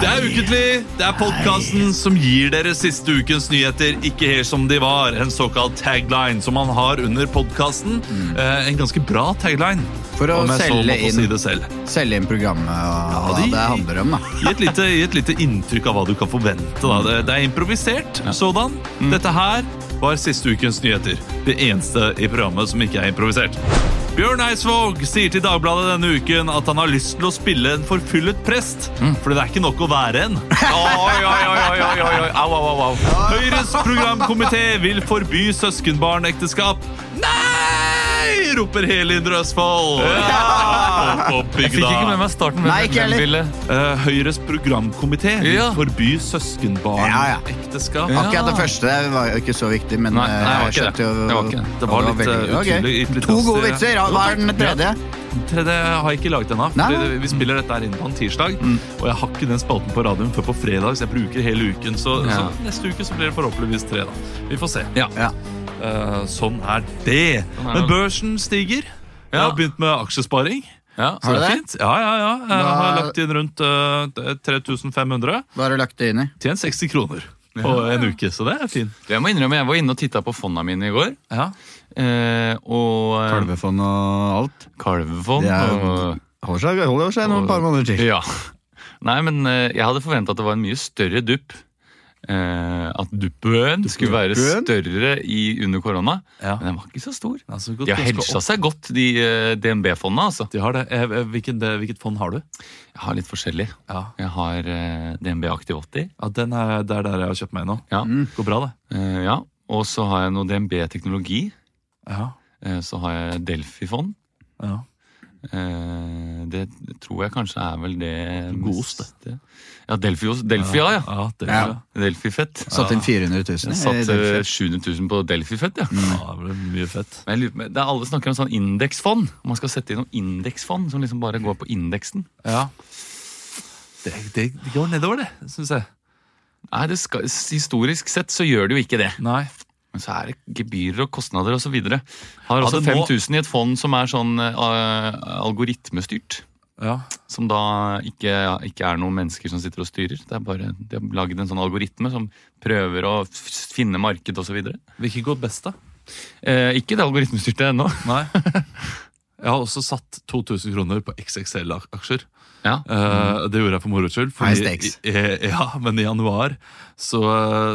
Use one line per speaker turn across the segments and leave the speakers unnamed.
Det er ukentlig. Det er podkasten som gir dere siste ukens nyheter ikke helt som de var. En såkalt tagline som man har under podkasten. Eh, en ganske bra tagline.
Mm. For å
om jeg så må
selge
få
inn-
Si det selv.
Selge inn programmet og hva
de-
det handler om, da.
Gi et, lite, gi et lite inntrykk av hva du kan forvente. Da. Det, det er improvisert sådan. Dette her var siste ukens nyheter. Det eneste i programmet som ikke er improvisert. Bjørn Eidsvåg sier til Dagbladet denne uken at han har lyst til å spille en forfyllet prest. Fordi det er ikke nok å være en. Mm. Oi, oi, oi, oi, oi, oi, oi. Au, au, au, au. Høyres programkomité vil forby søskenbarnekteskap. Nei! roper hele Indre Østfold. Ja! Opp på
Jeg fikk ikke
bygda.
med meg starten. hvem-
Nei, ikke
hvem
heller.
ville.
Eh, Høyres programkomité vil
Ja.
forby søskenbarn
Ja, ja.
ekteskap.
Ja.
Akkurat det første var jo ikke så viktig, men
Nei, nei, det
eh,
var
jeg
ikke
skjønte jo
det. Det var ikke det.
Det var
det
litt,
veldig-
eh,
ok.
utydelig, litt
To
litt
gode
hastig,
vitser. ja. Hva er den tredje?
Tredje har jeg ikke laget ennå.
Nei. Mm.
fordi det- Vi spiller dette her inn på en tirsdag, og jeg har ikke den spalten på radioen før på fredag, så jeg bruker hele uken. Så,
Ja.
så neste uke så blir det forhåpentligvis tre, da. Vi får se.
Ja.
Ja.
Eh, sånn er
er
det. Men
det.
børsen stiger. Jeg har
Ja.
begynt med aksjesparing.
Ja.
Så
Har du
er
det?
fint. Ja, ja, ja. Jeg
Da-
har lagt inn rundt eh, 3500.
Hva har du lagt det inn i?
Tjent 60 kroner på en uke, så det er fint.
Jeg må innrømme, jeg var inne og titta på fonda mine i går.
Ja.
eh, Og eh,
Kalvefond og alt?
kalvefond.
Det er-
og-
Holder seg, holder seg
Og-
noen par måneder til.
Ja. Nei, men eh, jeg hadde forventa at det var en mye større dupp. Eh, at duppen skulle være
Duppen?
større i, under korona.
Ja.
Men den var ikke så stor.
Altså, godt
De har
ganske
hedga seg godt, de eh, DNB-fondene. altså.
De har det. Eh, eh, Hvilken, eh, hvilket fond har du?
Jeg har litt forskjellig.
Ja.
Jeg har eh, DNB Aktiv 80.
den er, det er der jeg har kjøpt meg nå.
Ja.
Mm.
Går bra, det.
Eh, ja. Og så har jeg noe DNB Teknologi.
Ja.
Eh, så har jeg Delphi-fond.
Ja.
Eh, det tror jeg kanskje er vel det
Godeste.
meste. Ja, Delphi, Delphi ja. ja.
ja, det,
Ja.
ja.
Delphi-fett.
Satt inn 400 000. i
Satt eh,
Delphi.
700 000 på Delphi-fett, ja.
ja det blir mye fett.
Men jeg lurer, på- det er alle snakker om sånn indeksfond. Om Man skal sette inn noen indeksfond som liksom bare går på indeksen.
Ja. Det, det, det går nedover, det, syns jeg.
Nei, det skal, Historisk sett så gjør det jo ikke det.
Nei.
Men så er det gebyrer og kostnader osv. Har
Ja,
også
det må-
5000 i et fond som er sånn eh, algoritmestyrt.
Ja.
Som da ikke, ikke er noen mennesker som sitter og styrer. Det er bare, De har lagd en sånn algoritme som prøver å f- finne marked osv.
Hvilket går best, da?
Eh, ikke det algoritmestyrte ennå.
Nei. Jeg har også satt 2000 kroner på XXL-aksjer.
Ja.
Eh, det gjorde jeg for moro skyld.
High
fordi-
stakes.
eh, ja, men i januar så,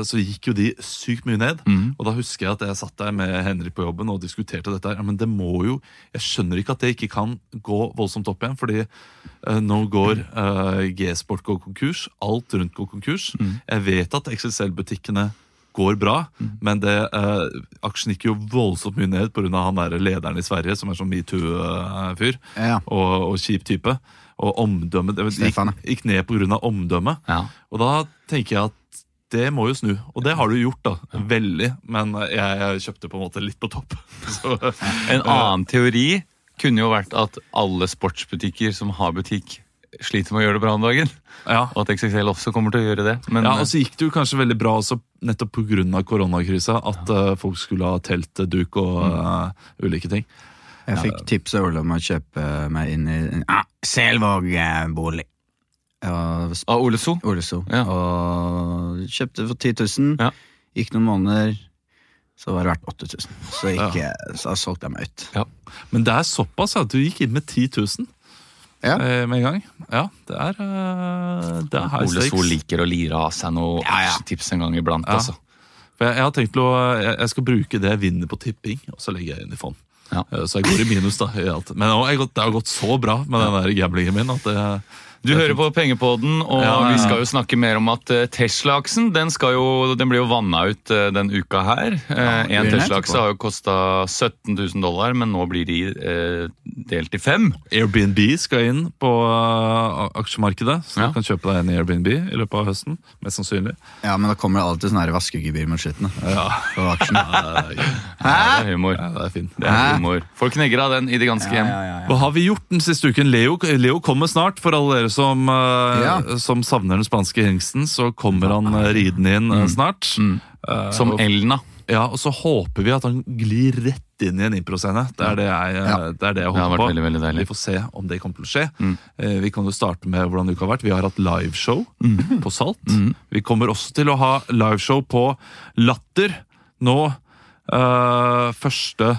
så gikk jo de sykt mye ned.
Mm.
Mhm.
Og da husker jeg at jeg satt der med Henrik på jobben og diskuterte dette. her. Ja, men det må jo, Jeg skjønner ikke at det ikke kan gå voldsomt opp igjen. fordi eh, nå går eh, G-sport går konkurs. Alt rundt går konkurs.
Mm.
Jeg vet at XXL-butikkene går bra, men det, eh, aksjen gikk jo voldsomt mye ned pga. han der lederen i Sverige som er sånn metoo-fyr
Ja.
og, og kjip type. Og omdømmet det gikk,
Stefan,
gikk ned pga. omdømmet.
ja.
Og da tenker jeg at det må jo snu. Og det har du gjort, da. Veldig. Men jeg, jeg kjøpte på en måte litt på topp. Så,
En annen teori kunne jo vært at alle sportsbutikker som har butikk, sliter med å gjøre det bra om dagen.
ja.
Og at XXL også kommer til å gjøre det. Men eh,
ja, Og så gikk det jo kanskje veldig bra også nettopp pga. koronakrisa. At eh, folk skulle ha telt, eh, duk og
Mm.
eh, ulike ting.
Jeg fikk tips av Ole om å kjøpe meg inn i ah, Selvåg-bolig. Og
eh, av Ole So.
Ole So.
Ja.
Og kjøpte for 10 000.
Ja.
Gikk noen måneder, så var det verdt 8000. Så, gikk, jeg- så solgte jeg meg ut.
Ja.
Men det er såpass at du gikk inn med 10 000
Ja.
eh, med en gang. Ja, det er, eh, det er high
Ole So
stakes.
liker å lire av seg noen
Ja, ja.
tips en gang iblant.
Ja.
altså.
For jeg, jeg har tenkt til å, jeg, jeg skal bruke det jeg vinner på tipping, og så legger jeg inn i fond.
Ja.
Eh, Så jeg går i minus, da. i alt. Men nå har jeg gått, det har gått så bra med den der gamblingen min at det,
Du hører på Pengepodden, og
Ja, ja.
vi skal jo snakke mer om at eh, Tesla-aksen den, skal jo- den blir jo vanna ut eh, den uka her. Eh,
Ja,
en
det er
Tesla-akse
nettopp.
har jo kosta 17 000 dollar, men nå blir de eh, delt i fem.
Airbnb skal inn på uh, aksjemarkedet, så
Ja.
du kan kjøpe deg en i Airbnb i løpet av høsten. Mest sannsynlig.
Ja, men da kommer det alltid sånne her vaskegebyr mot slutten. da,
Ja,
på aksjen.
Det er humor.
ja, det er fint.
Det er humor. Folk knegger av den i det ganske hjem.
Hva har vi gjort den siste uken? Leo, Leo kommer snart, for alle dere som, eh,
Ja.
som savner den spanske hengsten. Så kommer han eh, ridende inn eh, snart. Eh,
Som
og-
Elna.
Ja, Og så håper vi at han glir rett inn i en improscene. Det er det jeg, eh,
Ja.
det er det jeg
Det har
håper
vært
på.
veldig, veldig deilig.
Vi får se om det kommer til å skje. Eh, Vi kan jo starte med hvordan uka har vært. Vi har hatt liveshow på Salt. Vi kommer også til å ha liveshow på Latter nå eh, første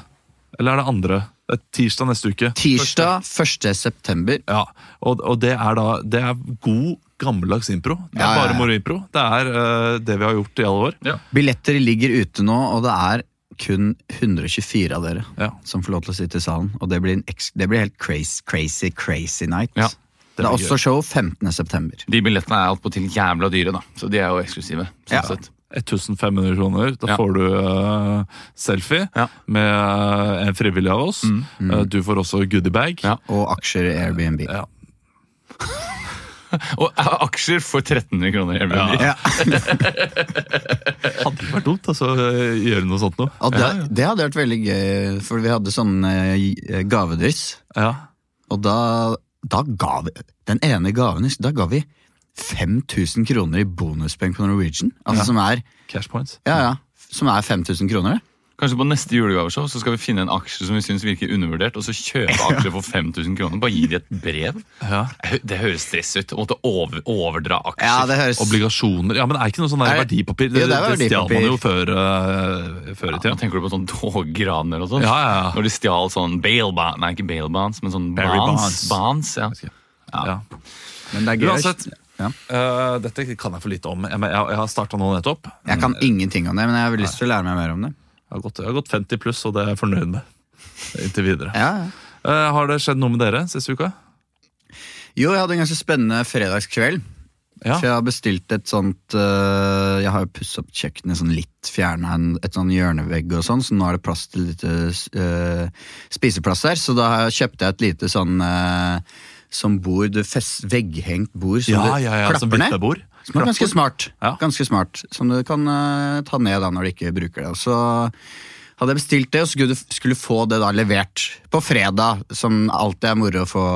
Eller er det andre? Det er tirsdag neste uke.
Tirsdag 1. september.
Ja, og, og det er da Det er god, gammeldags impro. Det er
Ja, ja, ja.
bare moro impro. Det er eh, det vi har gjort i alle år.
Ja.
Billetter ligger ute nå, og det er kun 124 av dere
Ja.
som får lov til å sitte i salen. Og det blir, en eks- det blir helt crazy, crazy, crazy night.
Ja,
det, er
blir
også show 15. september.
De billettene er attpåtil jævla dyre, da. Så de er jo eksklusive. sånn
Ja.
sett.
1500 kroner. Da
Ja.
får du eh, selfie
Ja.
med eh, en frivillig av oss. Eh, du får også goodiebag.
Ja.
Og aksjer i Airbnb.
Ja.
Og eh, aksjer for 1300 kroner. Airbnb.
Ja.
Hadde ikke vært dumt altså, å gjøre noe sånt noe.
Og det, det hadde vært veldig gøy, for vi hadde sånn eh, gavedryss.
Ja.
Og da, da ga vi den ene gaven, da ga vi 5000 kroner i bonuspenger på Norwegian. Altså som er,
Cash points.
ja, ja, som er 5000 kroner. det.
Kanskje på neste julegaveshow så skal vi finne en aksje som vi syns virker undervurdert, og så kjøpe aksjer for 5000 kroner. Bare gi de et brev.
Ja.
Det høres stress ut å måtte over, overdra aksjer.
Ja, det høres
Obligasjoner Ja, men er ikke noe sånn der
Er det-
verdipapir?
Jo,
Det,
det er
det stjal man
verdipapir.
jo før, eh, før i
Nå
tida.
tenker du på sånn toggraner og sånn?
Ja, ja, ja.
Når de stjal sånn bail bonds, nei ikke bail bonds, men sånn
Barry
bonds.
bonds.
bonds ja.
Ja.
Men det er gøy. å-
Uansett.
Ja.
Eh, dette kan jeg for lite om. Jeg, men jeg, jeg har starta nå nettopp.
Jeg kan ingenting om det, men jeg har lyst til å lære meg mer om det.
Jeg har gått, jeg har gått 50 pluss, og det er jeg fornøyd med. Inntil videre.
Ja, ja.
Eh, har det skjedd noe med dere siste uka?
Jo, jeg hadde en ganske spennende fredagskveld.
Ja.
Så jeg har bestilt et sånt øh, Jeg har jo pusset opp kjøkkenet sånn litt, fjerna et sånn hjørnevegg og sånn, så nå er det plass til litt øh, spiseplass der. Så da har jeg- kjøpte jeg et lite sånn øh, sånn bord, du fest, vegghengt bord som
Ja,
du
ja, ja, som
klapper ned.
byttebord.
Som er ganske smart.
Ja.
ganske smart Som du kan øh, ta ned da når du ikke bruker det. Og så hadde jeg bestilt det, og så skulle du skulle få det da levert på fredag, som alltid er moro å få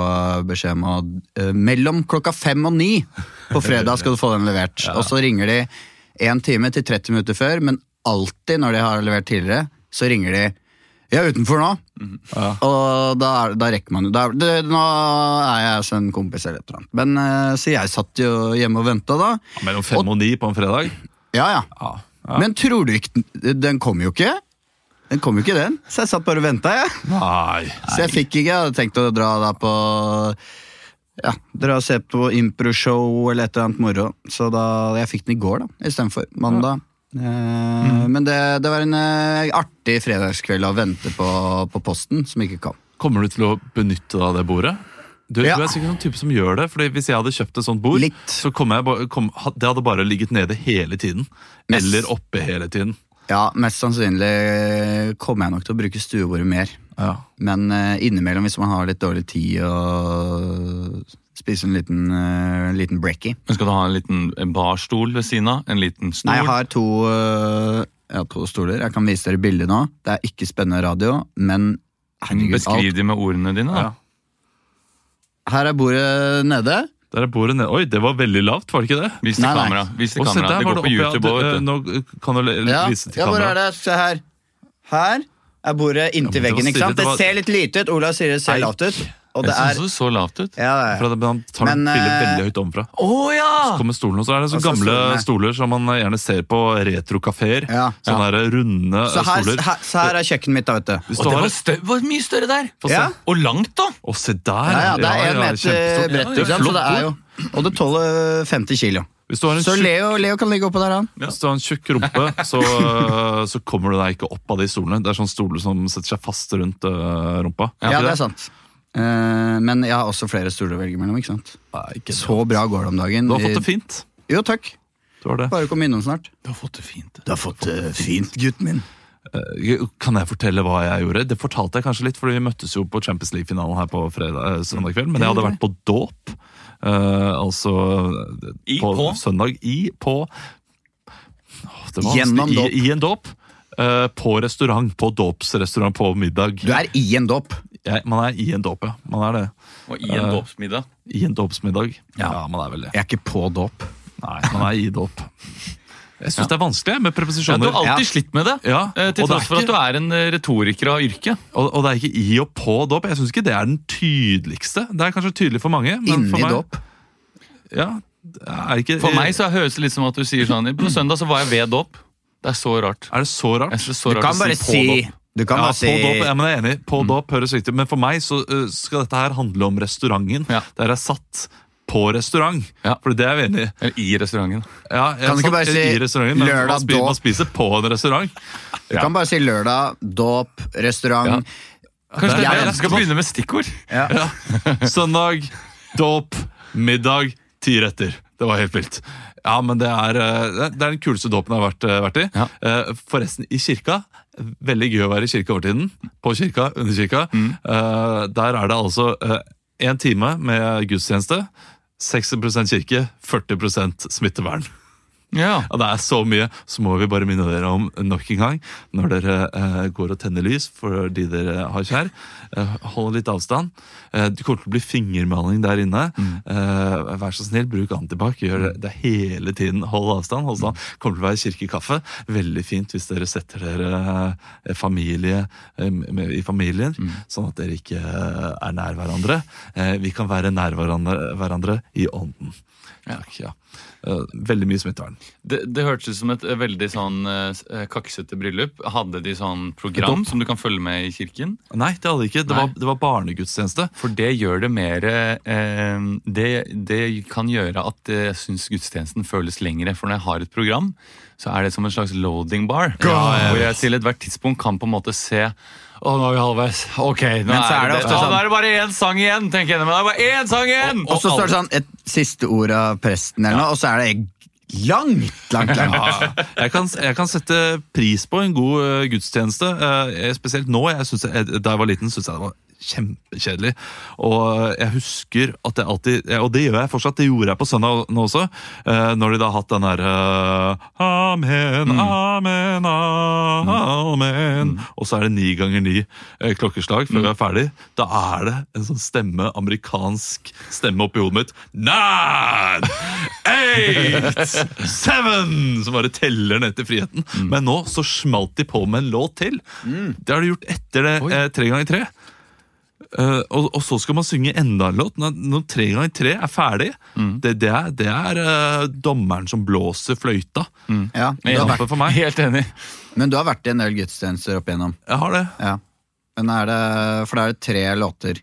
beskjed om. Og, eh, mellom klokka fem og ni på fredag skal du få den levert. Og så ringer de en time til 30 minutter før, men alltid når de har levert tidligere, så ringer de jeg er utenfor nå, og da, er- da rekker man jo da er- det- Nå er jeg hos en kompis eller et eller annet. Men, eh, så jeg satt jo hjemme og venta da.
Mellom fem og ni på en fredag?
Ja, ja.
Ja.
Men tror du ikke den- Den kom jo ikke. Den kom jo ikke, den. Så jeg satt bare og venta, jeg.
Nei.
Så jeg fikk ikke. Jeg hadde tenkt å dra da på ja, dra og se på improshow eller et eller annet moro. Så da, jeg fikk den i går da, istedenfor mandag. Eh,
Mm.
Men det, det var en eh, artig fredagskveld å vente på, på posten, som ikke kom.
Kommer du til å benytte deg av det bordet? Du,
Ja.
du er sikkert en type som gjør det, fordi Hvis jeg hadde kjøpt et sånt bord,
Litt.
så kommer jeg bare, kom, ha- det hadde bare ligget nede hele tiden.
Mest.
Eller oppe hele tiden.
Ja, Mest sannsynlig kommer jeg nok til å bruke stuebordet mer.
Ja.
Men eh, innimellom, hvis man har litt dårlig tid og spiser en liten, eh, en liten brekkie
Men skal du ha en liten barstol ved siden av? En liten Mm, stol?
Nei, jeg har to, øh, jeg har to stoler. Jeg kan vise dere bildet nå. Det er ikke spennende radio, men herregud,
Beskriv
alt.
de med ordene dine, da.
Ja.
Her er bordet nede.
Der er bordet nede. Oi, det var veldig lavt, var det ikke det?
Vis til
Nei, nei.
kamera. Vis til
Å, se,
kamera.
der
Det
var
går på
oppe, ja.
YouTube òg,
Du, eh,
vet du.
Nå kan du le- le-
Ja,
vise til
ja hvor
kamera.
er det? Se her. Her er bordet inntil
Ja, men det var
veggen. ikke
stille, det
sant? Det
var-
ser litt lite ut. Olav sier det ser lavt ut. Og
Jeg
det
synes
er
det så lavt ut.
ja, det
Fra
er.
det, men han tar
Men,
den bildet
eh, ah.
veldig høyt ovenfra.
Å ja!
Så kommer stolen, og så er det sånne
Altså,
gamle
stolene.
stoler som man gjerne ser på retrokafeer.
Ja.
Sånne der runde
Så her,
stoler.
her, så her er kjøkkenet mitt, da, vet du.
Hvis
Og
du
det
har
var,
et-
stø var mye større der!
Få se.
Ja.
Og langt, da!
Å, se der!
Ja, ja, det er én meter
kjempestort.
bredt.
Ja,
ikke sant? Så
flott
det er jo, og det tåler 50 kilo.
Hvis du har en
Så
tjukk-
Leo, Leo kan ligge oppå der, han.
Hvis du har en tjukk rumpe, så, øh, så kommer du deg ikke opp av de stolene. Det er sånne stoler som setter seg fast rundt øh, rumpa.
Ja,
Ikke
det er sant. Eh, men jeg har også flere stoler å velge mellom. ikke sant? Så bra går det om dagen.
Du har fått det fint.
Jo, takk.
Du har det.
Bare kom innom snart.
Du har fått det fint.
Du har fått det fint, gutten min.
Eh, Kan jeg fortelle hva jeg gjorde? Det fortalte jeg kanskje litt, for vi møttes jo på Champions League-finalen her på fredag, eh, søndag kveld. Men jeg hadde vært på dåp, eh, altså eh,
I
på,
på?
søndag i på Åh, det var
Gjennom
vanskelig.
dåp.
I, I en dåp. eh, På restaurant, på dåpsrestaurant på middag.
Du er i en dåp.
Jeg, man er i en dåp, ja. Man er det.
Og i en dåpsmiddag.
I en dåpsmiddag. Ja. man er vel det.
Jeg er ikke på dåp.
Nei, man er i dåp. Jeg syns det er vanskelig jeg, med
Ja, du
preposisjoner.
har alltid
Ja.
slitt med det,
Ja,
eh, til
og det er
tross for at
ikke-
du er en eh, retoriker av yrke.
Og, og det er ikke i og på dåp. Jeg syns ikke det er den tydeligste. Det er kanskje tydelig for mange. Men for
Inni
meg,
dåp.
Ja, det er ikke,
For meg så høres det litt som at du sier sånn På søndag så var jeg ved dåp. Det er så rart.
er det så
Jeg
rart.
synes det er så
Du
rart
kan bare
å si på
si
dåp.
Du kan
Ja,
bare
på
si
dåp, ja, men jeg er enig. På dåp høres riktig Men for meg så øh, skal dette her handle om restauranten.
Ja.
Der jeg satt på restaurant.
Ja.
For det er vi enig i.
Eller i restauranten.
Ja, jeg
Kan du ikke
satt
bare si
i restauranten, men
lørdag
man spiser,
dåp?
man spiser på en restaurant.
Du kan bare si lørdag, dåp, restaurant.
Kanskje det
Ja,
er
ja.
det du skal begynne med stikkord?
Søndag, dåp, middag, ti retter. Det var helt vilt. Ja, men det er, eh, det er den kuleste dåpen jeg har vært, eh, vært i.
Ja.
Eh, Forresten, i kirka. Veldig gøy å være i kirka over tiden. På kirka, under kirka.
Mm.
Eh, Der er det altså én time med gudstjeneste. 60 kirke, 40 smittevern.
Ja.
Ja, det er så mye. Så må vi bare minne dere om nok en gang, når dere eh, går og tenner lys for de dere har kjær, eh, hold litt avstand. Eh, det kommer til å bli fingermaling der inne. Eh, vær så snill, bruk antibac. Gjør det, det hele tiden. Hold avstand. hold avstand. Kommer til å være kirkekaffe. Veldig fint hvis dere setter dere eh, familie eh, med, i familien, sånn at dere ikke eh, er nær hverandre. Eh, vi kan være nær hverandre, hverandre i ånden. Takk, ja. Eh, veldig mye smittevern.
Det, det hørtes ut som et eh, veldig sånn eh, s- eh, kaksete bryllup. Hadde de sånn program som du kan følge med i kirken?
Nei, det hadde de ikke. Det
Nei.
var, det var barnegudstjeneste.
For det gjør det mer eh, det, det kan gjøre at eh, jeg syns gudstjenesten føles lengre. For når jeg har et program, så er det som en slags loading bar. Hvor jeg til ethvert tidspunkt kan på en måte se å, nå er vi halvveis. Ok, nå
Men så
er,
er
det,
det ofte
Å,
sånn-
nå er det bare én sang igjen! tenker jeg. Men det er bare én sang igjen!
Og så står det sånn et siste ord av presten, eller noe, og så er det langt, langt, langt.
Jeg kan, jeg kan sette pris på en god eh, gudstjeneste. eh, spesielt nå. Jeg synes, jeg, da jeg var liten, syntes jeg det var kjempekjedelig. Og eh, jeg husker at jeg alltid ja, Og det gjør jeg fortsatt. Det gjorde jeg på søndag nå også. eh, når de da har hatt den derre Amen, amen, amen. Og så er det ni ganger ni eh, klokkeslag før vi er ferdig. Da er det en sånn stemme, amerikansk stemme oppi hodet mitt. Nine, eight, seven! Som bare teller ned til friheten. Men nå så smalt de på med en låt til. Det har de gjort etter det eh, tre ganger tre. Eh, og, og så skal man synge enda en låt når, når tre ganger tre er ferdig. Det, det er, det er eh, dommeren som blåser fløyta.
Ja, du Mm. har vært,
Kampen for meg.
Helt enig.
men du har vært i en del gudstjenester opp igjennom.
Jeg har det.
Ja. Men er det, for da er det tre låter.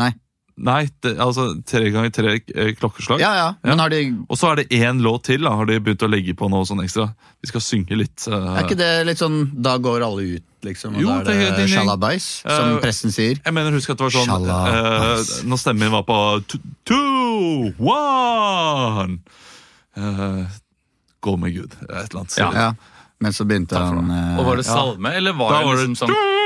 Nei.
Nei, det, altså tre ganger tre eh, klokkeslag.
Ja, ja, men har de,
Og så er det én låt til. da, Har de begynt å legge på noe sånn ekstra? Vi skal synge litt. eh,
er ikke det litt sånn, da går alle ut, liksom, og
Jo,
da
det er
er
helt
det
enig.
sjalabais, som
Eh,
presten sier.
Jeg mener, husk at det var sånn
Shalala.
eh, Når stemmen min var på t- two, one Eh, Gå med Gud. Et eller annet.
Ja.
Ja, men så begynte
Takk for
han... eh,
Og var det salme, eller var
Da
det
var det
liksom sånn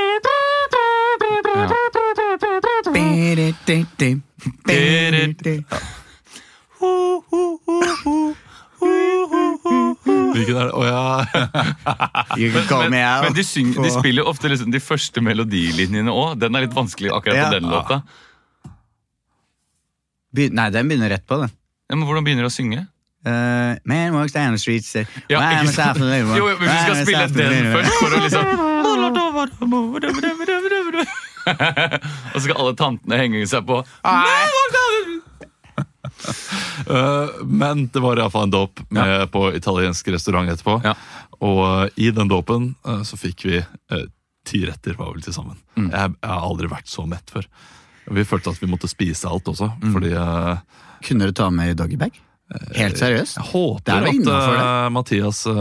Hvilken er det? Å ja.
You can call me out.
Men de, syng, de
på-
spiller jo ofte liksom de første melodilinjene òg. Den er litt vanskelig akkurat
Ja.
på den låta.
Be- Nei, den begynner rett på, den.
Ja, men hvordan begynner de å synge?
Eh, man walks down the street say,
Ja,
"Man
ikke
is
sant?
after the moon."
Jo, jo, men vi skal
Man is
spille
after the
den
moon.
først for å liksom Og så skal alle tantene henge seg på.
Eh, Men det var iallfall en dåp med- på italiensk restaurant etterpå.
Ja.
Og eh, i den dåpen eh, så fikk vi eh, ti retter, var vel til sammen.
Mm.
Jeg, jeg har aldri vært så mett
Mm.
før. Vi følte at vi måtte spise alt også, fordi eh,
Kunne du ta med i doggybag? Helt seriøst?
Jeg
Det er
håper
jo
at
innenfor det.
eh, Mathias eh,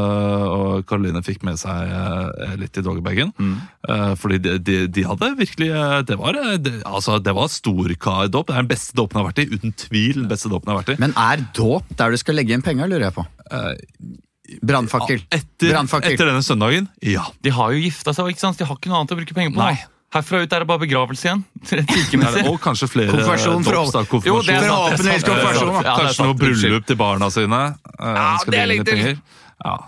og Karoline fikk med seg eh, litt i doggybagen.
Mm.
Eh, fordi de, de, de hadde virkelig eh, Det var, eh, det, altså, det var stor ka- dåp. Det er den beste dåpen jeg har vært i. Uten tvil den beste dåpen jeg har vært i.
Men er dåp der du skal legge inn penger, lurer jeg på?
Eh,
Brannfakkel.
etter,
Brannfakkel.
etter denne søndagen, ja.
De har jo gifta seg, ikke sant? De har ikke noe annet å bruke penger på. nå.
Nei.
Herfra ut er det bare begravelse igjen. Kirkemessig.
Og kanskje flere
Konfirmasjon for-
dåps, da.
Jo,
Konfirmasjon.
det er sant, det er sant, det er
Forhåpentligvis
sant.
konfirmasjon,
Ja,
da.
det er
Kanskje
sant,
noe
unnskyld.
bryllup til barna sine. eh,
Ja,
skal
det er
dele
litt
litt penger. Ja,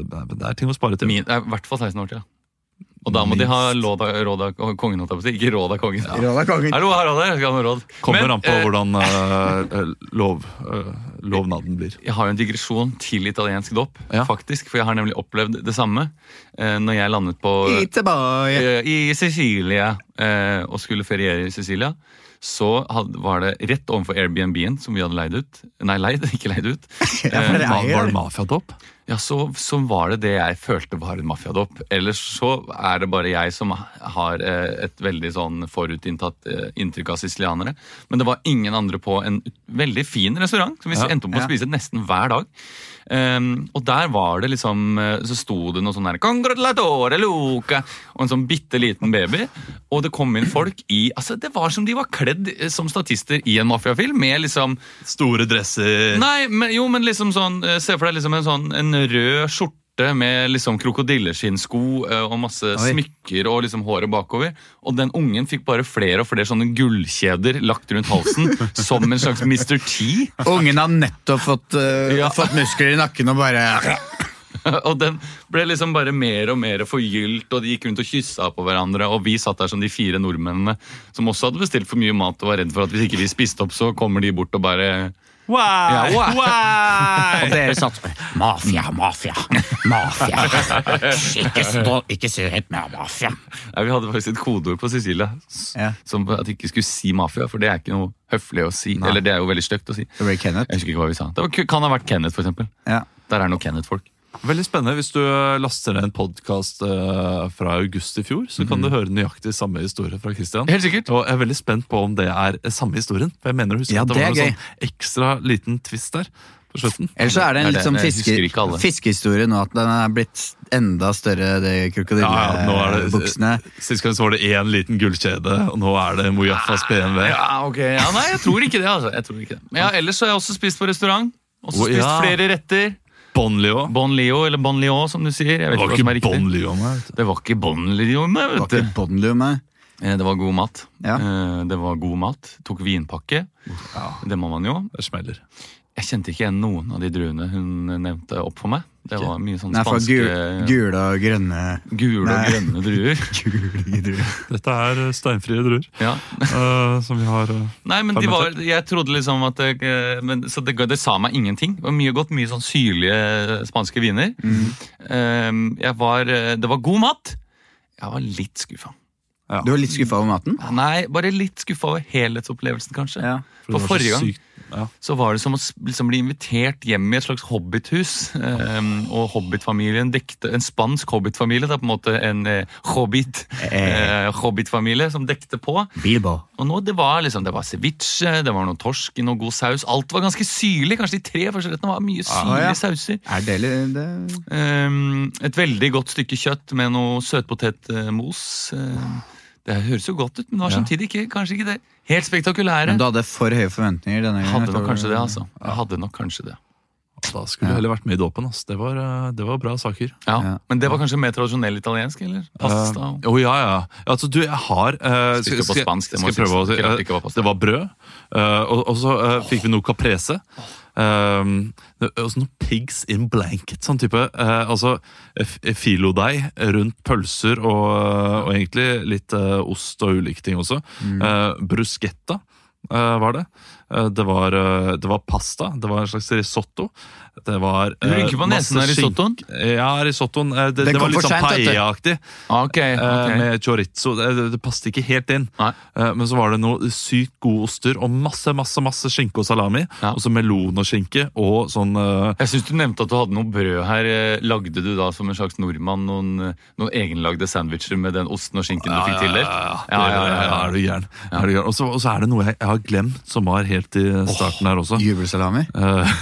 det er, det er ting å spare til.
Min, det er I hvert fall 16 år til. Ja. Og da må de ha råd av, råd av kongen, holdt jeg på å si. Ikke råd av kongen.
Råd av kongen.
Hallo, her Odd, jeg skal ha noe råd.
Kommer
Men,
an på
eh,
hvordan eh, eh, lov, eh, lovnaden blir.
Jeg har jo en digresjon til italiensk dåp,
Ja.
faktisk. For jeg har nemlig opplevd det samme eh, når jeg landet på
Tilbake.
eh, I Sicilia eh, og skulle feriere i Sicilia. Så had, var det rett overfor Airbnb-en som vi hadde leid ut. Nei, leid, ikke leid ut.
for det er
ma-
jo
var det
det.
mafiadåp? Ja, så, så var det det jeg følte var en mafiadåp. Ellers så er det bare jeg som har eh, et veldig sånn forutinntatt eh, inntrykk av sicilianere. Men det var ingen andre på en veldig fin restaurant som vi endte opp med
ja.
å spise nesten hver dag. Ehm, og der var det liksom eh, Så sto det noe sånn her Congratulatore Luca! Og en sånn bitte liten baby. Og det kom inn folk i Altså, det var som de var kledd eh, som statister i en mafiafilm. Med liksom
Store dresser
Nei, men, jo, men liksom sånn eh, Se for deg liksom en sånn en rød skjorte med liksom krokodilleskinnsko eh, og masse
Oi.
smykker og liksom håret bakover. Og den ungen fikk bare flere og flere sånne gullkjeder lagt rundt halsen som en slags Mr. T.
Ungen har nettopp fått, eh,
Ja.
fått muskler i nakken og bare
Og den ble liksom bare mer og mer forgylt, og de gikk rundt og kyssa på hverandre. Og vi satt der som de fire nordmennene som også hadde bestilt for mye mat og var redd for at hvis ikke vi spiste opp, så kommer de bort og bare
Wow!
Ja, wow.
Og dere satt Mafia, mafia, mafia. Ikke, stå, ikke si det helt mer mafia.
Nei, Vi hadde faktisk et kodeord på Sicilia s-
Ja.
som at de ikke skulle si mafia, for det er ikke noe høflig å si. Eller det er jo veldig stygt å si.
Det ble Kenneth.
Jeg husker ikke hva vi sa. Det var, kan ha vært Kenneth, for eksempel.
Ja.
Der er noe Kenneth-folk.
Veldig spennende. Hvis du eh, laster ned en podkast fra august i fjor, så
Mhm.
kan du høre nøyaktig samme historie fra Christian.
Helt sikkert.
Og jeg er veldig spent på om det er samme historien. For jeg mener å huske
Ja,
at det,
det er
var en sånn ekstra liten twist der på slutten.
Ellers så er det en
Ja,
litt sånn
det- jeg
fiske,
husker ikke alle.
fiskehistorie nå, at den er blitt enda større, de krokodillebuksene.
Sist gang så var det én liten gullkjede, og nå er det Mojafas BMW.
Ah, Ja, ok. Ja, nei, jeg tror ikke det, altså. Jeg tror ikke det. Men ja, ellers så har jeg også spist på restaurant. Også
Å,
spist
ja.
flere retter.
Bon Leo.
Bon Leo, eller Bon Leo, som du sier. Jeg vet
Det var
ikke hva som er
ikke
riktig.
Bon Leo med.
Det var ikke Bon Leo, men
Det
vet
var ikke
du.
Bonloo med.
Eh, Det var god mat.
Ja.
Eh, Det var god mat. Tok vinpakke. Det må man jo.
Det smeller.
Jeg kjente ikke igjen noen av de druene hun nevnte opp for meg. Det var mye sånn
Nei, for gul,
spanske
gule og grønne
gule
Nei.
og grønne druer.
Gule druer.
Dette er eh, steinfrie druer
Ja.
eh, som vi har eh,
Nei, men de var, jeg trodde liksom at det, men, Så det, det sa meg ingenting. Det var mye godt, mye sånn syrlige spanske viner.
Mm.
Eh, Jeg var, det var god mat. Jeg var litt skuffa.
Du var litt skuffa over maten?
Nei, bare litt skuffa over helhetsopplevelsen, kanskje.
Ja.
For
det var så
forrige gang
sykt- ja.
så var det som å s- liksom bli invitert hjem i et slags hobbithus. ehm, og hobbitfamilien dekte En spansk hobbitfamilie, det er på en måte en eh, hobbit.
Eh.
Eh, hobbitfamilie som dekte på.
Bilbo.
Og nå det var liksom, det var ceviche, det var noe torsk i noe god saus. Alt var ganske syrlig. Kanskje de tre første rettene var mye syrlige
Ah, ja.
sauser.
Er det litt det?
Ehm, et veldig godt stykke kjøtt med noe søtpotetmos. Ehm, det høres jo godt ut, men det var samtidig ikke, kanskje ikke det helt spektakulære.
Men du hadde for høye forventninger denne gangen?
Hadde nok kanskje det, altså. Jeg hadde nok kanskje det.
Da skulle du heller vært med i dåpen. ass. Det var, eh, det var bra saker.
Ja.
Ja.
Men det var kanskje mer tradisjonell italiensk, eller? Pasta og
Eh, oh, ja, ja. Altså, du, jeg har eh,
Spiste på spansk, det
skal
må
jeg prøve å
sies. Ikke
si.
rart det
eh,
ikke var pasta.
det var brød, eh, og, og så eh, fikk vi noe caprese. Um, det- og så noe pigs in blanket, sånn type. eh, altså f- filodeig rundt pølser og, og egentlig litt eh, ost og ulike ting også.
Mm.
Eh, bruschetta eh, var det. Eh, det, var, eh, det var pasta. Det var en slags risotto. Det var
Du rynker på
eh, masse
nesen av
skink-
risottoen?
Ja, risottoen. eh, Det,
Den
det var
kom
litt
for
sånn
sent, vet du.
paella-aktig.
Ah, Ok,
Eh,
ok.
med chorizo. Det, det, det passet ikke helt inn.
Nei.
Eh, Men så var det noe sykt gode oster og masse masse, masse skinke og salami.
Ja.
Og så melon og skinke og sånn eh,
Jeg syns du nevnte at du hadde noe brød her. Eh, Lagde du da som en slags nordmann noen, eh, noen egenlagde sandwicher med den osten og skinken du fikk tildelt?
Ja, ja, ja, ja, er du gæren. Er du gæren. Og så og så er det noe jeg, jeg har glemt, som var helt i starten her også.
Jubelsalami?
Eh,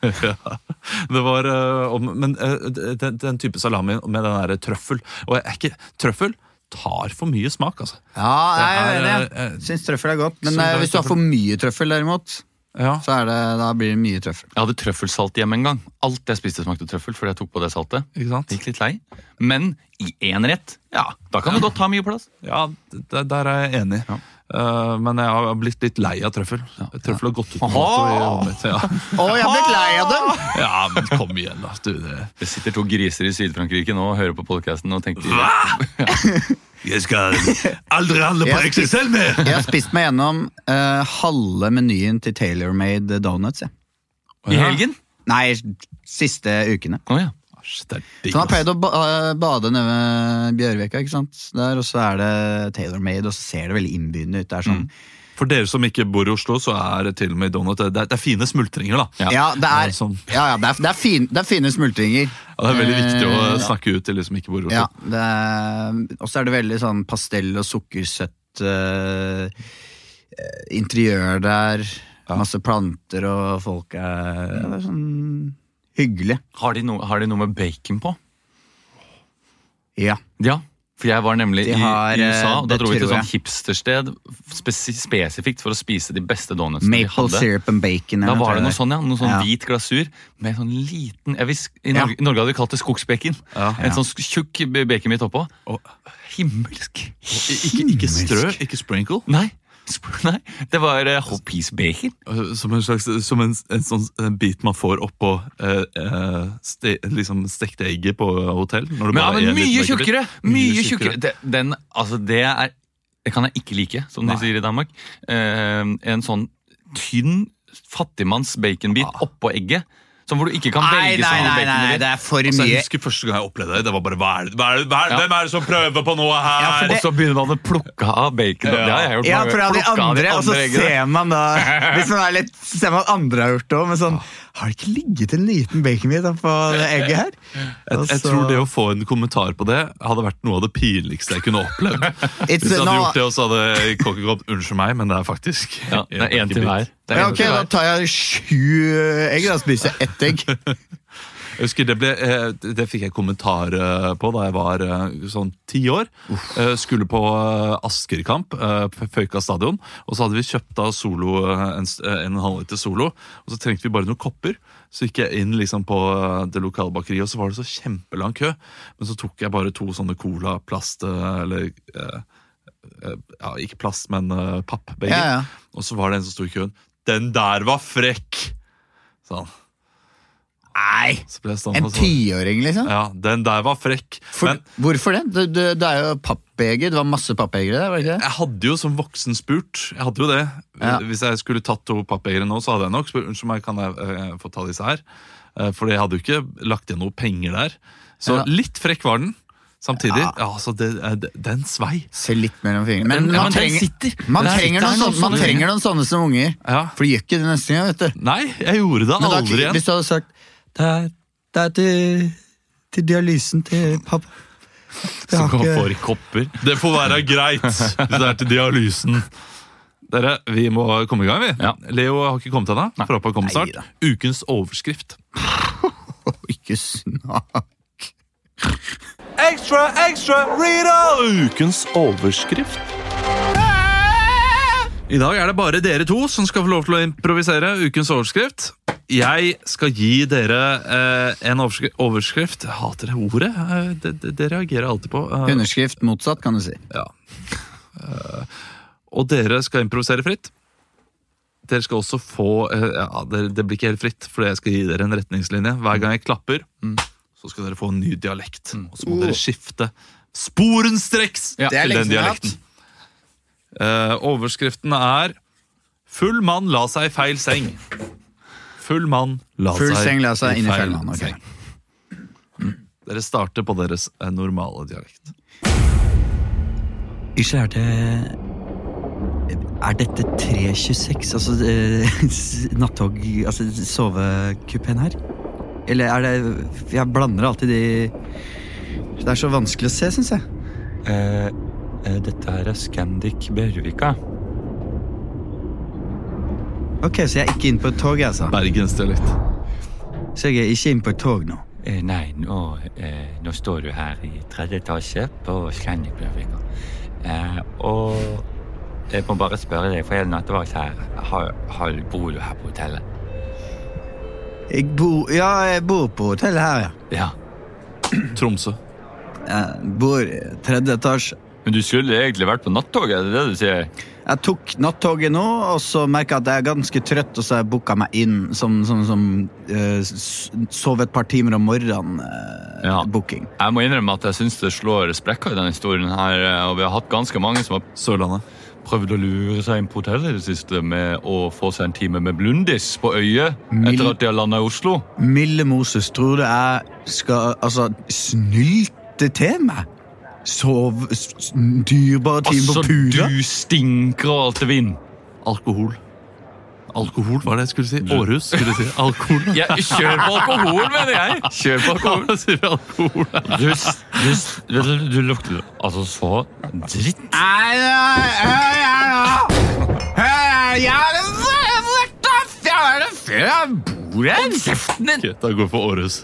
Det var, eh, om- men eh, den, den type salami med den der trøffel Og jeg er ikke, trøffel tar for mye smak, altså.
Ja, nei, jeg
Det
er
er,
enig.
eh,
Syns trøffel er godt. Men
så
eh,
det er
hvis du har
trøffel.
for mye trøffel, derimot,
Ja.
så er det, da blir det mye trøffel.
Jeg hadde trøffelsalt hjemme en gang. Alt jeg spiste smakte trøffel fordi jeg tok på det saltet.
Ikke sant?
Gikk litt lei. Men i én rett, ja, da kan det godt ta mye plass.
Ja, der, der er jeg enig.
Ja.
Eh, men jeg har blitt litt lei av trøffel. Trøffel har gått ut på en måte i
Aha!
hånden mitt. Ja.
Å, jeg er blitt lei av dem!
ja, men kom igjen, da. Du, det.
Det sitter to griser i Syd-Frankrike nå og hører på podkasten og tenker
Jeg skal aldri handle
på Jeg- XXL
mer!
Jeg har spist meg gjennom eh, halve menyen til Tailor-made donuts. Jeg.
I helgen?
Nei, siste ukene.
Å ja.
Det er digg,
Så han har
ass.
pleid å ba eh, bade nede ved Bjørvika, ikke sant? Der, og så er det Tailor-made, og så ser det veldig innbydende ut. Det er sånn
Mm. For dere som ikke bor i Oslo, så er det til og med donut. Det er, det er fine smultringer, da.
Ja, det er,
Det er sånn.
ja, ja, det er, det er, fin, det er fine smultringer.
Ja, det er veldig viktig å
Eh,
snakke ut til de som ikke bor i Oslo.
Ja, det er- og så er det veldig sånn pastell og sukkersøtt eh, eh, interiør der. Masse planter, og folk er, ja, det er sånn hyggelig.
Har de, noe- har de noe med bacon på?
Ja.
Ja. For jeg var nemlig
De
i,
har,
i USA,
eh,
og da
det
dro vi til et
tror
sånt hipstersted spesi spesifikt for å spise de beste donutsene de
Maple
hadde.
syrup and bacon.
Da
eller
var det noe
der.
sånn, ja. Noe sånn
Ja.
hvit glasur med sånn liten jeg vis, I
Ja.
Norge, i Norge hadde vi kalt det skogsbacon. En sånn sk- tjukk b- bacon midt oppå. Himmelsk!
Ikke, ikke strø, ikke sprinkle.
Nei. sp- Nei, det var uh, whole piece bacon.
Eh, Som en slags som en, en sånn en bit man får oppå eh, eh, ste, liksom stekte egget på hotell. Når du
Men, ja,
bare er
men
en liten
mye
bakerbit.
tjukkere! Mye
Mye
tjukkere.
tjukkere.
Det, den, altså, det er Det kan jeg ikke like, som de sier i Danmark. Eh, en sånn tynn fattigmanns baconbit oppå egget. Sånn hvor du ikke kan
Ah. Nei,
velge sånn
nei,
sammen
nei, nei,
baconet
det
ditt.
er for
Så jeg
mye.
husker første gang jeg opplevde det. Det var bare, hva er det, hva er det, hva er det,
Ja.
Hvem er det som prøver på noe her?
Ja, for
Og
det-
så begynner man å plukke av bacon. Det har jeg gjort
Ja,
mange
fra
ganger.
de
Plukke av
andre, altså, og så
eggene.
ser man da Hvis man er litt, ser man at andre har gjort det òg, men sånn Har det ikke ligget en liten baconbit på det egget her? Altså,
Jeg,
Altså-
jeg tror det å få en kommentar på det hadde vært noe av det pinligste jeg kunne opplevd.
It's-
Hvis jeg hadde
nå-
gjort det, og så hadde kokken gått 'unnskyld meg', men det er faktisk
Ja, det er én til hver. Det er
ja,
en
Ok,
til
da
hver.
tar jeg sju eh, egg, da spiser jeg ett egg.
Jeg husker det, ble, eh, det fikk jeg kommentar eh, på da jeg var eh, sånn ti år. Eh, Skulle på eh, Askerkamp eh, på Føyka stadion. Og så hadde vi kjøpt da solo, eh, en, s- eh, en halvliter Solo, og så trengte vi bare noen kopper. Så gikk jeg inn liksom på eh, det lokale bakeriet, og så var det så kjempelang kø. Men så tok jeg bare to sånne Cola plast, eh, eller eh, eh, ja, ikke plast, men eh, pappbeger.
Ja, ja.
Og så var det en som sto i køen. 'Den der var frekk!' Sånn.
Nei!
Så ble jeg stående
En
og sånn.
tiåring, liksom?
Ja, den der var frekk.
Altså- For,
Men
hvorfor det? Det, det? det er jo pappeger. Det var masse pappegere der, var det ikke det?
jeg hadde jo som voksen spurt. Jeg hadde jo det.
Ja.
Hvis jeg skulle tatt to pappegere nå, så hadde jeg nok spurt unnskyld meg, kan jeg eh, få ta disse her. Eh, for jeg hadde jo ikke lagt igjen noe penger der. Så
Ja.
litt frekk var den. Samtidig, ja, altså det, eh, det- den svei.
Se litt mellom fingrene. Men
Ja,
man
men den
trenger,
sitter.
man
Den
trenger,
sitter
noen,
her nå,
sånne, man
sånn.
trenger noen sånne som unger.
Ja.
For de gjør ikke det neste gang, vet du.
Nei, jeg gjorde det
Men da,
aldri igjen.
hvis du hadde sagt Det er, det er til, til dialysen til pappa. Det
Så
har
kan man
ikke-
få i kopper.
Det får være greit hvis det er til dialysen. Dere, vi må komme i gang, vi.
Ja.
Leo har ikke kommet ennå. Får håpe han kommer snart.
Neida.
Ukens overskrift.
Ikke snak.
Ekstra, ekstra, read-all!
Ukens overskrift. I dag er det bare dere to som skal få lov til å improvisere ukens overskrift. Jeg skal gi dere eh, en overskrift, overskrift. Jeg hater det ordet. Eh, det, det, det reagerer jeg alltid på. Eh,
Underskrift motsatt, kan du si.
ja. Eh, Og dere skal improvisere fritt. Dere skal også få eh, ja, det, det blir ikke helt fritt, for jeg skal gi dere en retningslinje. Hver gang jeg klapper,
Mm.
så skal dere få en ny dialekt. Og så må dere skifte sporenstreks
Ja,
Oh. Det er
til
lenge
den
siden jeg har
dialekten. Eh, overskriften er 'Full mann la seg i feil seng'. Full mann la
Full
seg,
seng la seg inn i
altså, feil
fellen. ok.
seng. Dere starter på deres eh, normale dialekt.
Unnskyld, er det Er dette 326, altså eh, s- nattog... Altså sovekupeen her? Eller er det Jeg blander alltid de
Det er så vanskelig å se, syns jeg.
Eh, eh, dette her er Scandic Bjørvika.
Ok, Så jeg er ikke inne på et tog, jeg, altså.
Bergensdialekt.
Så jeg er ikke inne på et tog nå.
Eh, Nei, nå, eh, nå står du her i tredje etasje på Scandic Bjørvika. Eh, og jeg må bare spørre deg, for jeg er nattevakt her. Har, har, bor du her på hotellet?
Jeg bor Ja, jeg bor på hotellet her, ja.
Ja. Tromsø.
Jeg bor i tredje etasje.
Men du skulle egentlig vært på nattoget, er det det du sier?
Jeg tok nattoget nå, og så merka jeg at jeg er ganske trøtt, og så har jeg booka meg inn som, som, som eh, s- sove et par timer om morgenen. eh,
Ja.
Booking.
Jeg må innrømme at jeg syns det slår sprekker i denne historien her, eh, og vi har hatt ganske mange som har Sørlandet. prøvd å lure seg inn på hotellet i det siste med å få seg en time med Blundis på øyet etter at de har landa i Oslo.
Milde Moses, tror du jeg skal altså, snylte til meg? Sove s- s- dyrebare timer
Altså,
på pula?
du stinker og alt er vind.
Alkohol. Alkohol var det jeg skulle si. Århus skulle jeg si. Alkohol.
Ja, kjør på alkohol, mener jeg! Kjør på alkohol.
sier vi alkohol.
Du, s- du, s- du, du lukter altså så dritt.
Nei, nei, nei, nei, nei. Hei, Jeg er en vertaff! Jeg er det før jeg bor her!
Ok, Da går vi for Århus.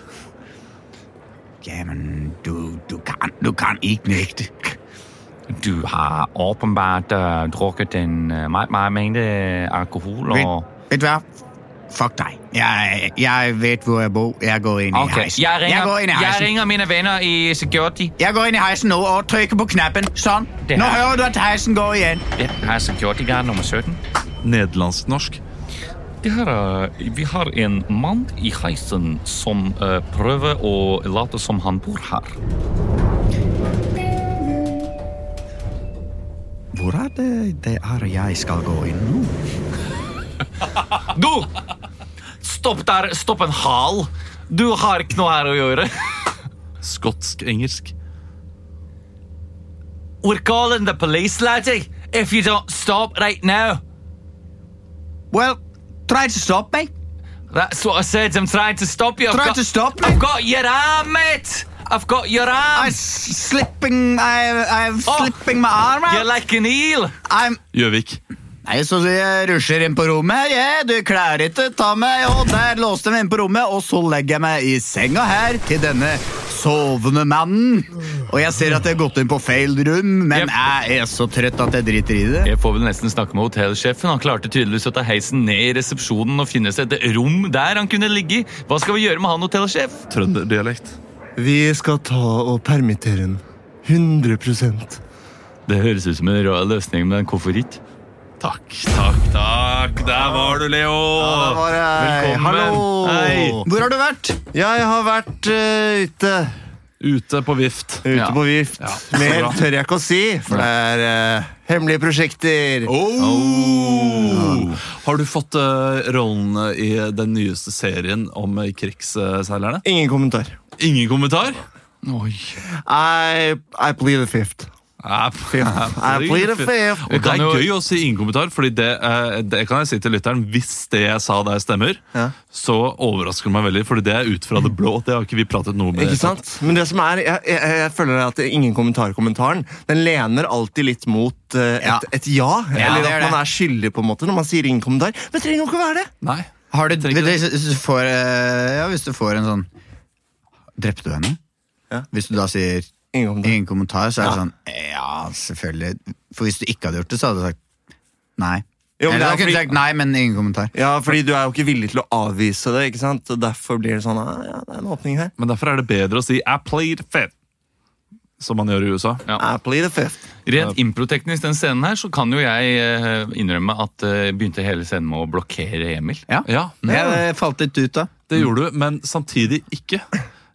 Jamen, du, du, kan, du kan ikke nekte.
Du har åpenbart eh, drukket en eh, meget, meget mengde alkohol. Og...
Vet, vet du hva? Fuck deg. Jeg, jeg vet hvor jeg bor. Jeg går inn
Ok,
i heisen.
jeg
går inn i
ringer, jeg
heisen.
ringer mine venner i security.
Jeg går inn i heisen nå og trykker på knappen. Sånn.
Det
Nå
er-
hører du at heisen går igjen.
Ja, her er security-guard nummer 17.
Nederlandsk-norsk.
Det her, eh, vi har en mann i heisen som eh, prøver å late som han bor her.
Hvor er det det er jeg skal gå inn nå?
Du! Stopp der! Stopp en hal! Du har ikke noe her å gjøre.
Skotsk-engelsk.
We're calling the police, laddie. If you don't stop right now.
Well, try to stop me.
That's what I said. I'm trying to stop you. I've
Try
got,
to stop me.
I've got your arm, mate. I've got your arm.
I'm slipping, I, I'm slipping my arm
You're
out.
like an eel.
I'm...
Gjøvik.
Nei, så jeg rusher inn på rommet her. jeg. du klarer ikke ta meg. Og der låste jeg meg inn på rommet, og så legger jeg meg i senga her til denne sovende mannen. Og jeg ser at jeg har gått inn på feil rom, men
Jep.
jeg er så trøtt at jeg driter i det.
Jeg får vel nesten snakke med hotellsjefen. Han klarte tydeligvis å ta heisen ned i resepsjonen og finne seg et rom der han kunne ligge. i. Hva skal vi gjøre med han hotellsjef?
Trønderdialekt.
Vi skal ta og permittere den. 100
Det høres ut som en rå løsning med en koffert hit.
Takk, takk, takk. Der var du, Leo.
Velkommen. Hallo.
Hei.
Hvor har du vært?
Jeg har vært eh, ute.
Ute på vift.
Ute på vift. Mer
bra.
tør jeg ikke å si, for det er eh, hemmelige prosjekter.
Oh. Har du fått eh, rollen i den nyeste serien om eh, krigsseilerne?
Ingen kommentar.
Ingen kommentar?
I, I plead the fifth. I plead the fifth.
Og det
kan
er
jo-
gøy å si ingen kommentar, Fordi det, eh, det kan jeg si til lytteren. Hvis det jeg sa der stemmer,
Ja.
så overrasker det meg veldig. Fordi det er ut fra det blå. Det har ikke vi pratet noe med.
Ikke sant? Men det som er, jeg, jeg, jeg føler at det er ingen kommentar-kommentaren Den lener alltid litt mot eh, et
Ja.
ja. Et ja
det
eller
gjør
at
det.
man er skyldig på en måte når man sier ingen kommentar. Men det trenger jo ikke å være det!
Nei.
Har du,
Trenger
hvis, hvis du får, eh, ja, hvis du får en sånn Drepte du henne?
Ja.
Hvis du da sier
Ingen kommentar.
ingen kommentar, så er det sånn Ja, selvfølgelig. For hvis du ikke hadde gjort det, så hadde du sagt nei.
Jo, men
Eller
det er
da kunne du
fordi-
sagt nei, men ingen kommentar.
Ja, fordi du er jo ikke villig til å avvise det, ikke sant? Og derfor blir det sånn ah, ja, det er en åpning her.
Men derfor er det bedre å si 'I played fed', som man gjør i USA.
I Ah, plead the fifth.
Rent improteknisk den scenen her, så kan jo jeg eh, innrømme at eh, begynte hele scenen med å blokkere Emil.
Ja.
Ja,
Jeg falt litt ut da.
Det gjorde du, men samtidig ikke.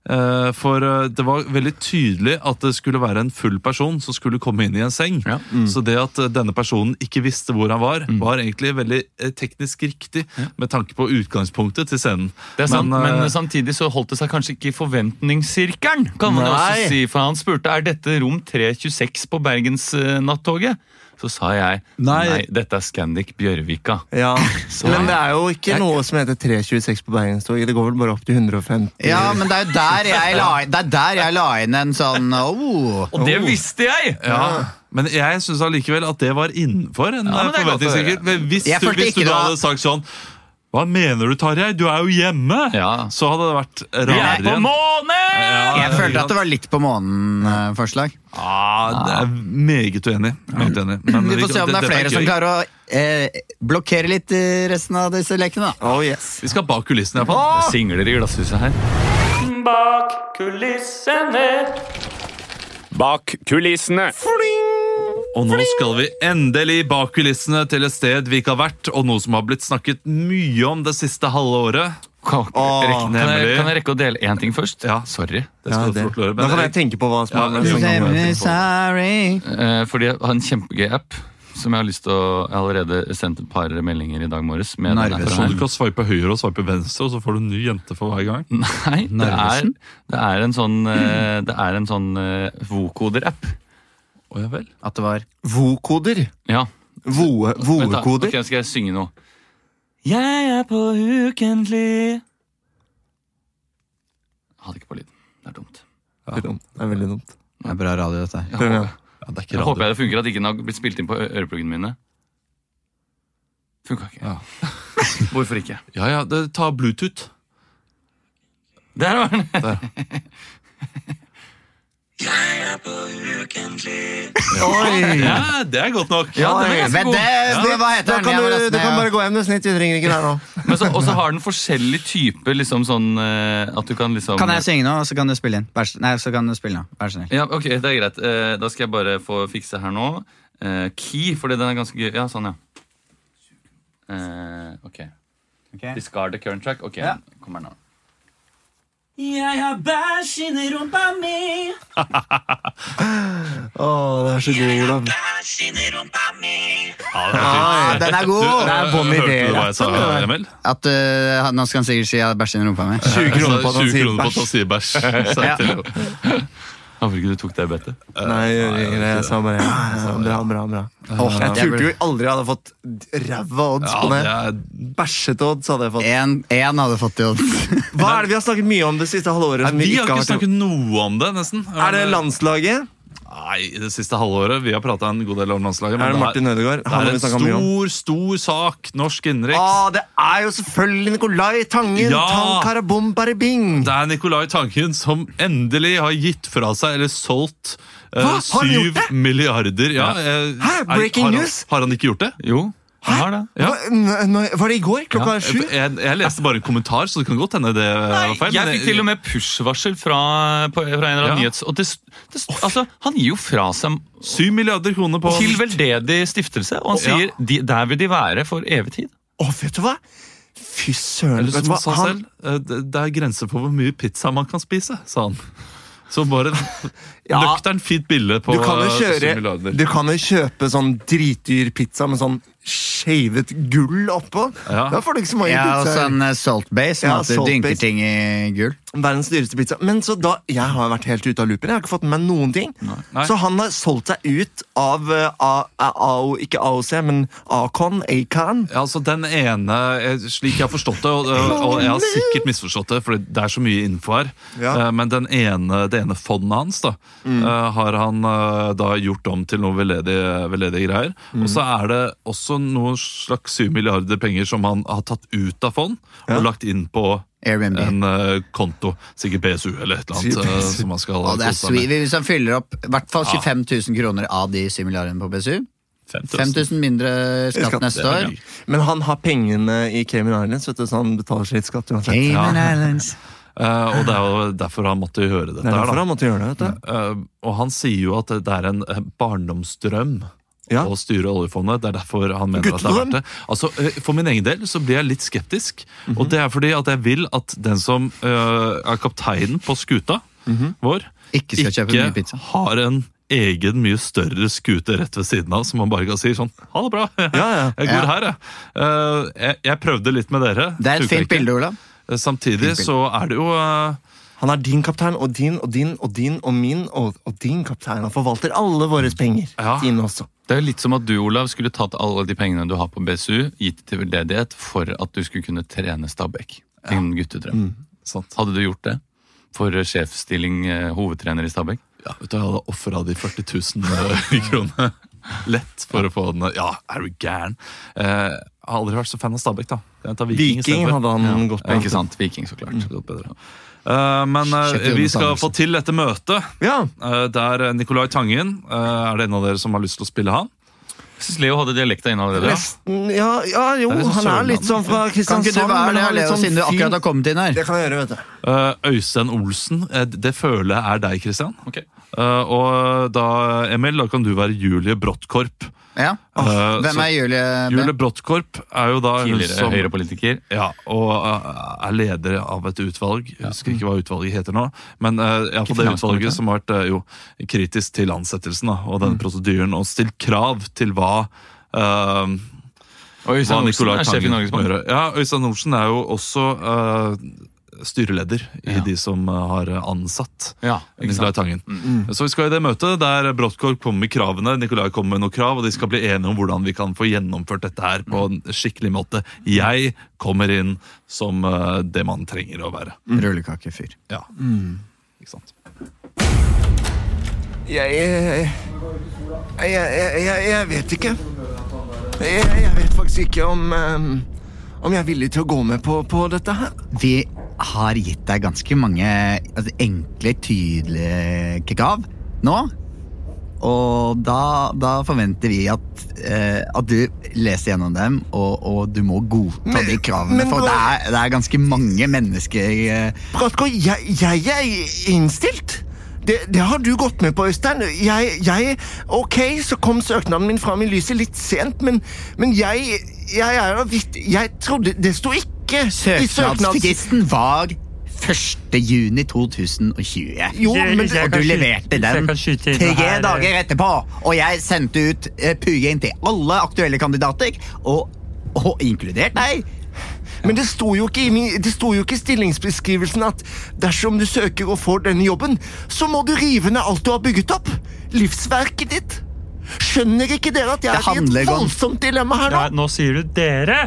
Eh, For eh, det var veldig tydelig at det skulle være en full person som skulle komme inn i en seng.
Ja.
Mm.
Mm.
Så det at eh, denne personen ikke visste hvor han var, var egentlig veldig eh, teknisk riktig med tanke på utgangspunktet til scenen.
Det er sant, men,
eh,
samtidig så holdt det seg kanskje ikke i forventningssirkelen. kan man jo
Nei.
også si, For han spurte er dette rom 326 på Bergensnattoget. Så sa jeg nei.
Nei.
dette er Scandic Bjørvika.
Ja, Men det er jo ikke noe som heter 326 på Bergenstoget. Det går vel bare opp til 150.
Ja, men det er jo der jeg la, det er der jeg la inn en sånn oh.
Og det visste jeg!
ja. Men jeg syns allikevel at det var innenfor en
Ja, men det er godt å
forventningssirkel.
høre.
Men Hvis,
Jeg
du,
følte
hvis du da
ikke det var-
hadde sagt sånn Hva mener du, Tarjei? Du er jo hjemme!
Ja.
Så hadde det vært rarere.
Jeg er på
igjen.
månen!
Ja,
Jeg følte at det var litt på eh, månen-forslag.
Ja, det er meget uenig. Meget uenig. Men
Vi får se om det
dette
er flere som
gøy.
klarer å eh, blokkere litt i resten av disse lekene. da.
Oh, yes.
Vi skal bak kulissene, iallfall.
Singler i glasshuset her.
Bak kulissene. Bak kulissene.
Og nå skal vi endelig bak kulissene til et sted vi ikke har vært, og noe som har blitt snakket mye om det siste halve året.
Kan, kan, jeg,
nemlig.
kan jeg rekke å dele én ting først?
Ja.
Sorry.
Det
Ja,
skal du
det.
få forklare,
Da
men
kan jeg tenke på hva som
Ja,
er
det er
som-
sånn.
Sorry.
Eh, fordi jeg har en kjempegøy app som jeg har lyst til å Jeg har allerede sendt et par meldinger i dag morges. Med den
Narvesen.
appen
Sånn
her.
du kan sveipe høyre og sveipe venstre, og så får du en ny jente for hver gang.
Nei, det er,
Narvesen?
det er en sånn eh, Det er en sånn eh, vokoder-app.
Å, ja vel.
At det var
Vokoder.
Ja.
Voe-
Vent da,
Voekoder.
ok, nå skal jeg synge noe? Jeg er på ukentlig Jeg Hadde ikke på lyden. Det er dumt.
Det er dumt. Det er veldig dumt.
Det er bra radio, dette her.
Prøv igjen.
Ja, det er ikke
Jeg
radio.
håper jeg det funker at ikke den har blitt spilt inn på ø- øreplugene mine. Funka ikke.
Ja.
Hvorfor ikke?
Ja, ja, det, ta Bluetooth.
Der var den!
Ja, det er godt nok.
Ja, den er ganske
Men
god.
det, hva
Da
heter den?
kan
Jeg må
du,
laste
du
ned,
kan
ja.
bare gå hjem, du, snitt. Vi trenger ikke deg nå.
Men så- Og så har den forskjellige typer, liksom sånn eh, at du kan liksom
Kan jeg synge nå, og så kan du spille inn? Vær, så- nei, så kan du spille nå. Vær så snill.
Ja, ok, det er greit. Eh, da skal jeg bare få fikse her nå. Eh, key, fordi den er ganske gøy. Ja, sånn, ja. Eh, ok. Discard the current track. Ok,
Ja.
kommer den nå.
Å, det er så gøy, Olav.
Ah, den er god!
Det er Bon
Hørte du hva
Iver.
jeg sa, Emil?
At, eh, han- nå skal han sikkert si jeg har bæsj inni rumpa mi.
20 kroner på at han
20
sier
kroner på at han
bæsj.
sier bæsj. sa jeg til.
Håper ikke du tok det bettet.
Nei, jeg, jeg, jeg sa bare ja, ja, bra, bra, bra. Jeg turte jo aldri jeg hadde fått ræva odds
Ja,
på
det
det.
er Eh,
Bæsjete odds hadde jeg fått.
En, en hadde fått det.
Hva er det vi har snakket mye om det siste halvåret? som
Vi har ikke
vært-
snakket noe om det, nesten.
Er det landslaget?
Nei, det siste halvåret. Vi har prata en god del om landslaget.
Er det
det
Martin Ødegaard? Han har
det
vi
er en
snakket mye om.
stor, stor sak. Norsk innenriks.
Ah, det er jo selvfølgelig Nicolai Tangen!
Ja!
Tang karabom bare bing!
Det er Nicolai Tangen som endelig har gitt fra seg, eller solgt, eh,
Hva? Har han gjort
syv
det?
milliarder. Ja, eh,
Hæ?
nei,
Breaking
har han,
news?
Har han ikke gjort det?
Jo, jeg har det.
Ja. eh,
Hva- n- n- Var det i går? Klokka sju?
Jeg, jeg leste bare en kommentar, så det kan godt hende det eh, var feil.
Jeg fikk til og med push-varsel fra, på- fra en eller annen
Ja.
nyhets... Og det, det, altså, han gir jo fra seg
Syv milliarder kroner på
til veldedig stiftelse, og han sier de, der vil de være for evig tid.
Å, vet du hva? Fy søren.
Eller
Vet
som
du
han
hva?
sa
Han,
selv, eh, det det er grenser for hvor mye pizza man kan spise, sa han. Så bare
Ja.
nøktern, fint bilde på
du kan jo
eh, syv
kjøre
milliarder.
Du kan jo kjøpe sånn dritdyr pizza med sånn skjevet gull oppå.
Ja.
Da får du ikke så mange
Ja, og
pizzaer.
sånn eh, salt base, sånn
altså Ja,
at du
salt
dynker
base.
ting i gull.
Verdens dyreste pizza. Men så da, Jeg har vært helt ute av loopen. Jeg har ikke fått med meg noen ting.
Nei.
Så han har solgt seg ut av eh, A- A- AO, ikke AOC, men Acon. Acon.
Ja, altså Den ene, eh, slik jeg har forstått det, og, og og jeg har sikkert misforstått det, for det er så mye info her,
Ja.
eh, men den ene, det ene fondet hans da, eh, har han eh, da gjort om til noe veldedige, veldedige greier. Og så er det også noen slags 7 milliarder penger som han har tatt ut av fond og lagt inn på
Airbnb.
en eh, konto. Sikkert PSU eller et eller annet. eh, som man skal
Og det er
kose seg med.
sweet hvis han fyller opp i hvert fall 25 000 kroner av de 7 milliardene på BSU.
5000.
5000 mindre skatt
Skatt,
neste
det er
år.
mye.
Men han har pengene i Cayman Islands, vet du, så han betaler sitt skatt uansett.
Cayman Islands.
Eh, og det er jo derfor han måtte høre dette.
Det er
her, da.
derfor han måtte gjøre det. vet du.
Eh, og han sier jo at det er en eh, barndomsdrøm
Ja.
å styre oljefondet. Det er derfor han mener at det er verdt det. Altså, eh, for min egen del så blir jeg litt skeptisk. Og det er fordi at jeg vil at den som eh, er kapteinen på skuta vår,
Ikke skal kjøpe mye pizza.
har en egen mye større skute rett ved siden av, som man bare kan si sånn Ha det bra!
ja.
Jeg går
Ja.
her, jeg. Eh, jeg. Jeg prøvde litt med dere.
Det er
funker
et fint
ikke.
bilde, Olav.
Eh, Samtidig så er det jo eh,
Han er din kaptein og din og din og din og min og, og din kaptein. Han forvalter alle våre penger.
Ja.
Dine også.
Det er jo litt som at du, Olav, skulle tatt alle de pengene du har på BSU, gitt til veldedighet for at du skulle kunne trene Stabæk. Din guttedrøm.
Mm, sant.
Hadde du gjort det? For eh, sjefsstilling, eh, hovedtrener i Stabæk?
Ja, vet du, jeg hadde offra de 40 000 kroner lett for å få den. Ja, er du gæren? Eh, har aldri vært så fan av Stabæk, da. Jeg tar Viking, i
Viking
stedet for.
hadde han gått
Ja,
på.
ikke sant? Viking, så klart. Det er bedre.
Eh, men eh,
Kjetil
vi skal
Stavangsen.
få til dette møtet,
Ja,
eh, der eh, Nicolai Tangen eh, Er det en av dere som har lyst til å spille han?
Jeg synes Leo hadde dialekta inne allerede. ja.
nesten ja, ja, jo,
Det er litt
han
Sørlandet.
er litt sånn fra
Kan
Kristiansand.
ikke du være
men
det,
han er litt
Leo,
sånn
siden du
fin-
akkurat har kommet inn her?
Det kan jeg gjøre, vet du.
Eh, Øystein Olsen, eh, det føler jeg er deg, Christian.
Ok.
Eh, og da, Emil, da kan du være Julie Brottkorp.
Ja.
Eh,
Hvem
så-
er Julie? B?
Julie Brottkorp er jo da hun
Tidligere
som
høyrepolitiker.
ja, og eh, er leder av et utvalg. Jeg husker ikke hva utvalget heter nå. Men uh, ja, for det
finanskomiteen?
utvalget som har vært eh, jo, kritisk til ansettelsen da, og den prosedyren, og stilt krav til hva eh,
Og Øystein
hva
Olsen
Nicolai
er sjef i
Tangen
Norges
må
Bank.
gjøre. Ja, Øystein Olsen er jo også eh, styreleder i de som eh, har ansatt
Ja, ikke
Nicolai
sant? Mm,
Tangen. Så vi skal i det møtet der Bråttkorp kommer med kravene, Nicolai kommer med noen krav, og de skal bli enige om hvordan vi kan få gjennomført dette her på en skikkelig måte. Jeg kommer inn som eh, det man trenger å være.
Rullekakefyr.
Ja.
Mm.
Ikke sant?
Jeg jeg, jeg, jeg, jeg jeg vet ikke. Jeg, jeg vet faktisk ikke om ehm, Om jeg er villig til å gå med på, på dette her.
Vi har gitt deg ganske mange altså, enkle, tydelige kekav nå. Og da, da forventer vi at, eh, at du leser gjennom dem, og, og du må godta de kravene.
men
for det
hva-
er, det er ganske mange mennesker eh,
Bratko, jeg, jeg er innstilt. Det, det har du gått med på, Øystein. Jeg, jeg Ok, så kom søknaden min fram i lyset litt sent, men, men jeg Jeg er da vidt Jeg trodde Det sto ikke i søknads...
Søknadsfristen var 1. juni 2020.
Jo, men det,
og du leverte den
kan skyte inn det
tre
her, eh.
dager etterpå. Og jeg sendte ut eh, purjen til alle aktuelle kandidater, og, og inkludert deg.
Men det sto jo ikke i min, det sto jo ikke i stillingsbeskrivelsen at dersom du søker og får denne jobben, så må du rive ned alt du har bygget opp. Livsverket ditt. Skjønner ikke dere at jeg
Det
er i
handler
et
ikke om-
voldsomt dilemma her nå?
Ja, nå sier du dere.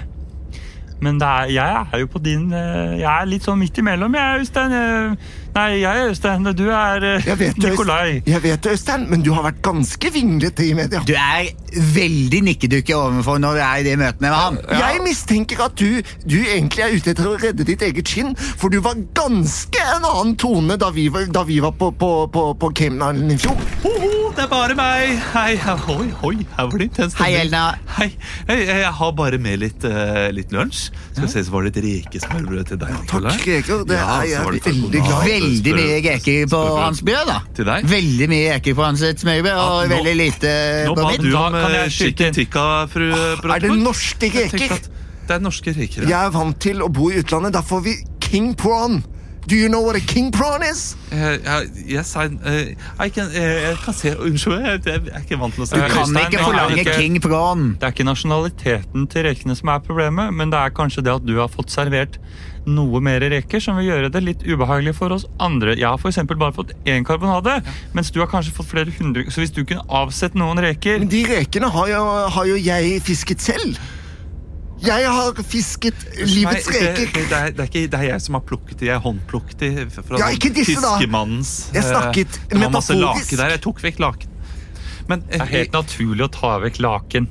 Men det er, jeg er jo på din eh, Jeg er litt sånn midt imellom, jeg, Øystein. Eh, Nei, jeg er Øystein, og du er eh,
Jeg vet, det,
Nikolai.
Øystein, jeg vet det, Øystein, men du har vært ganske vinglete i media.
Du er veldig nikkedukke overfor når du er i de møtene med han.
Jeg mistenker at du, du egentlig er ute etter å redde ditt eget skinn, for du var ganske en annen tone da vi var, da vi var på, på, på, på Cayman Island i fjor.
Hoho, det er bare meg! Hei, hoi, hoi, her var det intens
Hei, Elna.
Hei, hei, hei, jeg har bare med litt, eh, litt lunsj. Skal vi se, så var det et rekesmørbrød til deg,
Takk,
Nicolai.
Greger. Det
Ja,
er
så var
jeg
det
veldig
takk.
glad i.
Veldig mye reker på hans brød, da.
Til deg?
Veldig mye reker på hans smørbrød,
Ja,
og
nå-
veldig lite
Nå
på
ba
mitt.
du
Da
om
kan
eh,
jeg skyte
chicken
inn.
tikka, fru Bråttkorp.
Er det norske
Jeg tenkte
reker?
at Det er norske reker,
Jeg er vant til å bo i utlandet, da får vi king prawn. Do you know what a king prawn is?
Eh, jeg- yes, I, eh, I can, eh, jeg kan se Unnskyld, jeg, jeg er ikke vant til å se
Du kan
Øystein,
ikke
nå er
forlange
ikke-
king prawn.
Det er ikke nasjonaliteten til rekene som er problemet, men det er kanskje det at du har fått servert noe mer reker som vil gjøre det litt ubehagelig for oss andre. Jeg har for eksempel bare fått én karbonade, mens du har kanskje fått flere hundre. Så hvis du kunne avsett noen reker
Men de rekene har jo, har jo jeg fisket selv. Jeg har fisket
Nei,
livets
det,
reker.
det, er, det, er ikke, det er jeg som har plukket de. Jeg håndplukket de fra
Ja,
sånn
ikke disse, da.
fiskemannens
Jeg
eh,
snakket
Det var masse
metaforisk.
lake der. Jeg tok vekk laken. Men eh,
Det er helt naturlig å ta vekk laken.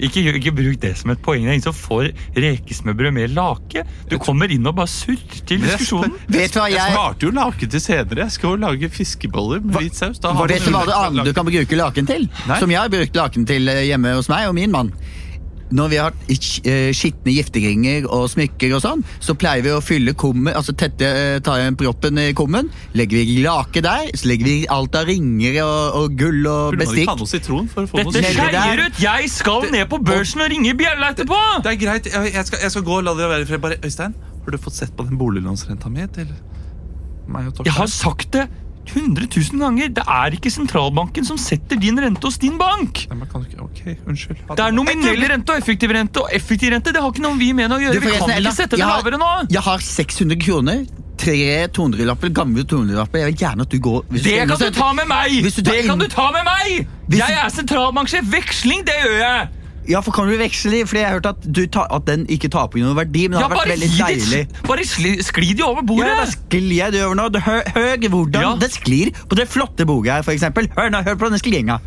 Ikke, gjør- ikke bruk det som et poeng. Det er ingen som får rekesmørbrød med lake. Du kommer inn og bare surrer til
jeg-
diskusjonen.
Vet du hva
Jeg
jeg
sparte jo laken til senere. Jeg skal jo lage fiskeboller med hvit saus. Da har
Vet
man
du hva
jo
det
lagt
annet du
laken.
kan bruke laken til?
Nei.
Som jeg har brukt laken til eh, hjemme hos meg og min mann. Når vi har sk- eh, skitne giftegringer og smykker og sånn, så pleier vi å fylle kummen, altså tette, eh, ta igjen proppen i kummen, legger vi lake der, så legger vi alt av ringer og, og gull og
Burde man ikke ha
bestikk.
noe sitron for å få noe
Dette
Nedi
sitron?
skjer-
skeier
der.
ut! Jeg skal ned på børsen og ringe bjella etterpå!
Det er greit. Jeg, jeg, skal, jeg skal gå og la dere være i fred. Bare, Øystein, har du fått sett på den boliglånsrenta mi til meg og Torstein?
Jeg har sagt det 100 000 ganger. Det er ikke sentralbanken som setter din rente hos din bank.
Nei, men kan du ikke Ok, unnskyld.
Det er nominell rente og effektiv rente, og effektiv rente det har ikke noe vi mener å
Du,
gjøre. Vi
forresten,
kan
Ella,
ikke sette det
jeg har-
lavere nå.
Jeg har 600 kroner, tre 200-lapper, gamle 200-lapper. Jeg vil gjerne at du går hvis
Det kan du
understøtter-
ta med meg!
Hvis du tar
Det kan
inn-
du ta med meg!
Hvis-
Jeg er sentralbanksjef. Veksling, det gjør jeg.
Ja, for kan du veksle de? Fordi jeg har hørt at, du tar, at den ikke taper noen verdi, men det
Ja,
har vært
bare,
veldig
gi ditt-
deilig.
bare sli- skli de over
Ja,
bordet.
da sklir jeg det over nå. Du hø- Hør hvordan
Ja.
det sklir på det flotte boget her, for eksempel. Hør, nå, hør på denne sklinga.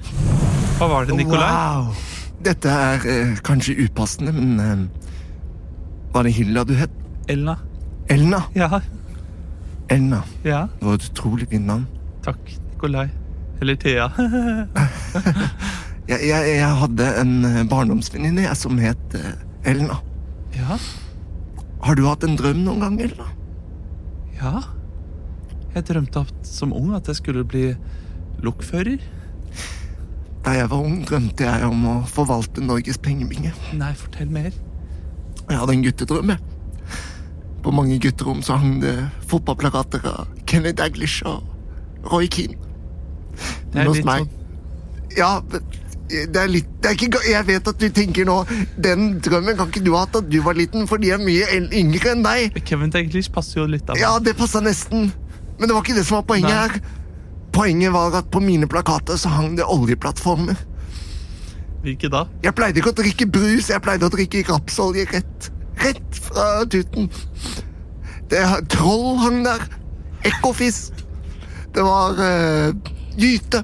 Hva var det, Nikolai?
Wow.
Dette er eh, kanskje upassende, men eh, Var det Hilda du het?
Elna.
Elna.
Ja,
Elna.
ja.
Det var et utrolig fint navn.
Takk, Nikolai. Eller Thea.
Jeg, jeg, jeg hadde en eh, barndomsvenninne jeg, som het eh, Elna.
ja,
Har du hatt en drøm noen gang, Elna?
ja. Jeg drømte at, som ung at jeg skulle bli lokfører.
Da jeg var ung, drømte jeg om å forvalte Norges pengebinge.
Nei, fortell mer.
Jeg hadde en guttedrøm, jeg. På mange gutterom så hang det fotballplakater av Kenneth Daglish og Roy Keane. Men hos meg Ja, men det er litt det er ikke, ga- Jeg vet at du tenker nå Den drømmen kan ikke du ha hatt da du var liten, for de er mye el- yngre enn deg.
Kevin Daglish passer jo litt av
Ja, det passa nesten. Men det var ikke det som var poenget
Nei.
her. Poenget var at på mine plakater så hang det oljeplattformer.
Hvilke da?
Jeg pleide ikke å drikke brus, jeg pleide å drikke rapsolje rett, rett fra tuten. Det Troll hang der. Ekofisk. Det var eh, gyte.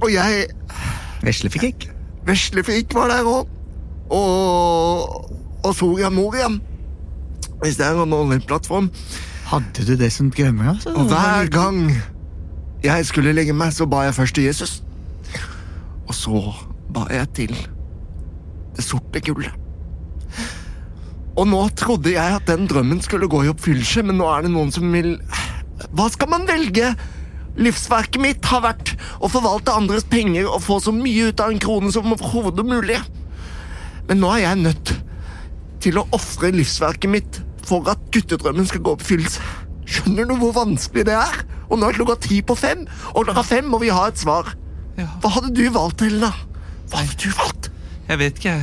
Og jeg
Veslefikk?
Veslefrik var der òg. Og, og Soria Moria. Hvis det er en oljeplattform.
Hadde du det som drømmer, altså?
Og hver gang jeg skulle legge meg, så ba jeg først til Jesus. Og så ba jeg til det sorte gullet. Og nå trodde jeg at den drømmen skulle gå i oppfyllelse, men nå er det noen som vil Hva skal man velge? Livsverket mitt har vært å forvalte andres penger og få så mye ut av en krone som overhodet mulig. Men nå er jeg nødt til å ofre livsverket mitt for at guttedrømmen skal gå i oppfyllelse. Skjønner du hvor vanskelig det er? Og nå er klokka ti på fem, og klokka fem må vi ha et svar. Hva hadde du valgt, Helena? Hva hadde du valgt?
Jeg vet ikke. Jeg,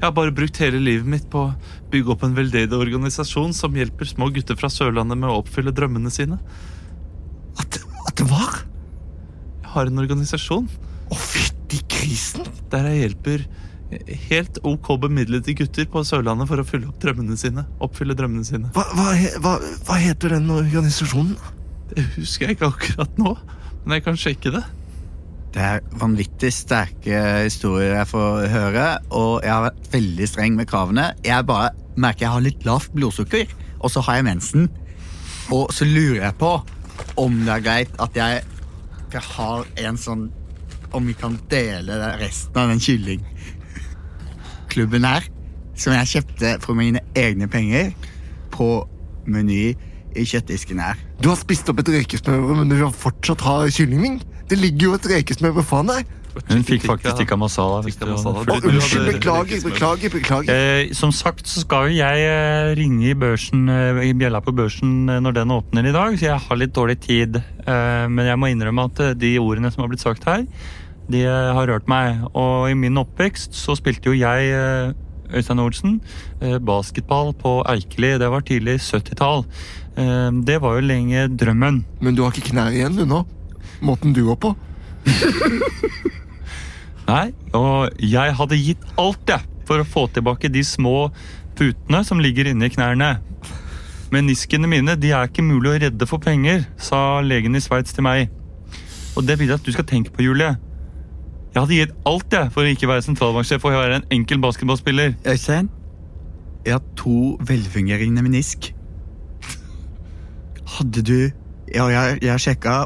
jeg har bare brukt hele livet mitt på å bygge opp en veldedig organisasjon som hjelper små gutter fra Sørlandet med å oppfylle drømmene sine.
At, at det var?
Jeg har en organisasjon
Å, fytti grisen!
der jeg hjelper helt OK bemidlede gutter på Sørlandet for å fylle opp drømmene sine. Oppfylle drømmene sine.
Hva, hva, he- hva, hva heter den organisasjonen?
Det husker jeg ikke akkurat nå, men jeg kan sjekke det.
Det er vanvittig sterke historier jeg får høre, og jeg har vært veldig streng med kravene. Jeg bare merker jeg har litt lavt blodsukker, og så har jeg mensen. Og så lurer jeg på om det er greit at jeg, jeg har en sånn Om vi kan dele det- resten av den kyllingklubben her, som jeg kjøpte for mine egne penger på Meny i kjøttdisken her.
Du har spist opp et rekesmørbrød, men du vil fortsatt ha kyllingving? Det ligger jo et rekesmørbrød faen der.
Hun fikk faktisk tikka masala. hvis
Tikka
du hadde
masala.
fulgt
Å,
Du hadde-
unnskyld, beklager, beklager, beklager.
Eh, som sagt så skal jo jeg eh, ringe i børsen, eh, i bjella på børsen eh, når den åpner i dag, så jeg har litt dårlig tid. Eh, men jeg må innrømme at eh, de ordene som har blitt sagt her, de eh, har rørt meg. Og i min oppvekst så spilte jo jeg, eh, Øystein Olsen, eh, basketball på Eikeli. Det var tidlig 70-tall. Eh, det var jo lenge drømmen.
Men du har ikke knær igjen, du nå? Måten du går på?
Nei, og jeg hadde gitt alt, jeg, for å få tilbake de små putene som ligger inni knærne. Meniskene mine de er ikke mulig å redde for penger, sa legen i Sveits til meg. Og det vil jeg at du skal tenke på, Julie. Jeg hadde gitt alt jeg, for å ikke være sentralbanksjef og være en enkel basketballspiller.
Øystein, jeg har to velfungerende menisk. Hadde du Ja, jeg, jeg sjekka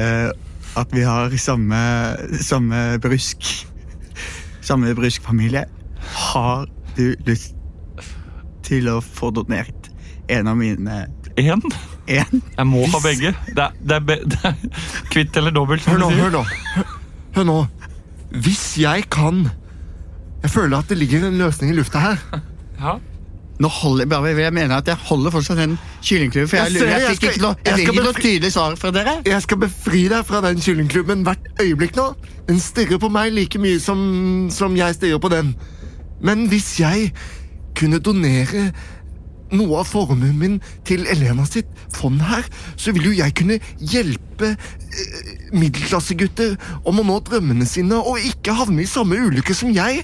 eh, at vi har samme, samme brusk. Samme bruskfamilie. Har du lyst til å få donert en av mine
Én?
En?
Jeg må ha begge. Det er, det er, be, det er kvitt eller dobbelt. som
Hør nå,
du sier.
hør nå. Hør nå. Hvis jeg kan Jeg føler at det ligger en løsning i lufta her.
Ja.
Nå holder jeg bare, jeg mener at jeg holder fortsatt den kyllingklubben, for jeg,
Jeg
lurer-
ser det,
jeg,
jeg
fikk ikke
skal-
noe,
jeg
jeg fikk
skal
ikke noe
befri-
tydelig svar fra dere.
Jeg skal befri deg fra den kyllingklubben hvert øyeblikk nå. Den stirrer på meg like mye som, som jeg stirrer på den. Men hvis jeg kunne donere noe av formuen min til Elena sitt fond her, så ville jo jeg kunne hjelpe eh, middelklassegutter om å nå drømmene sine og ikke havne i samme ulykke som jeg.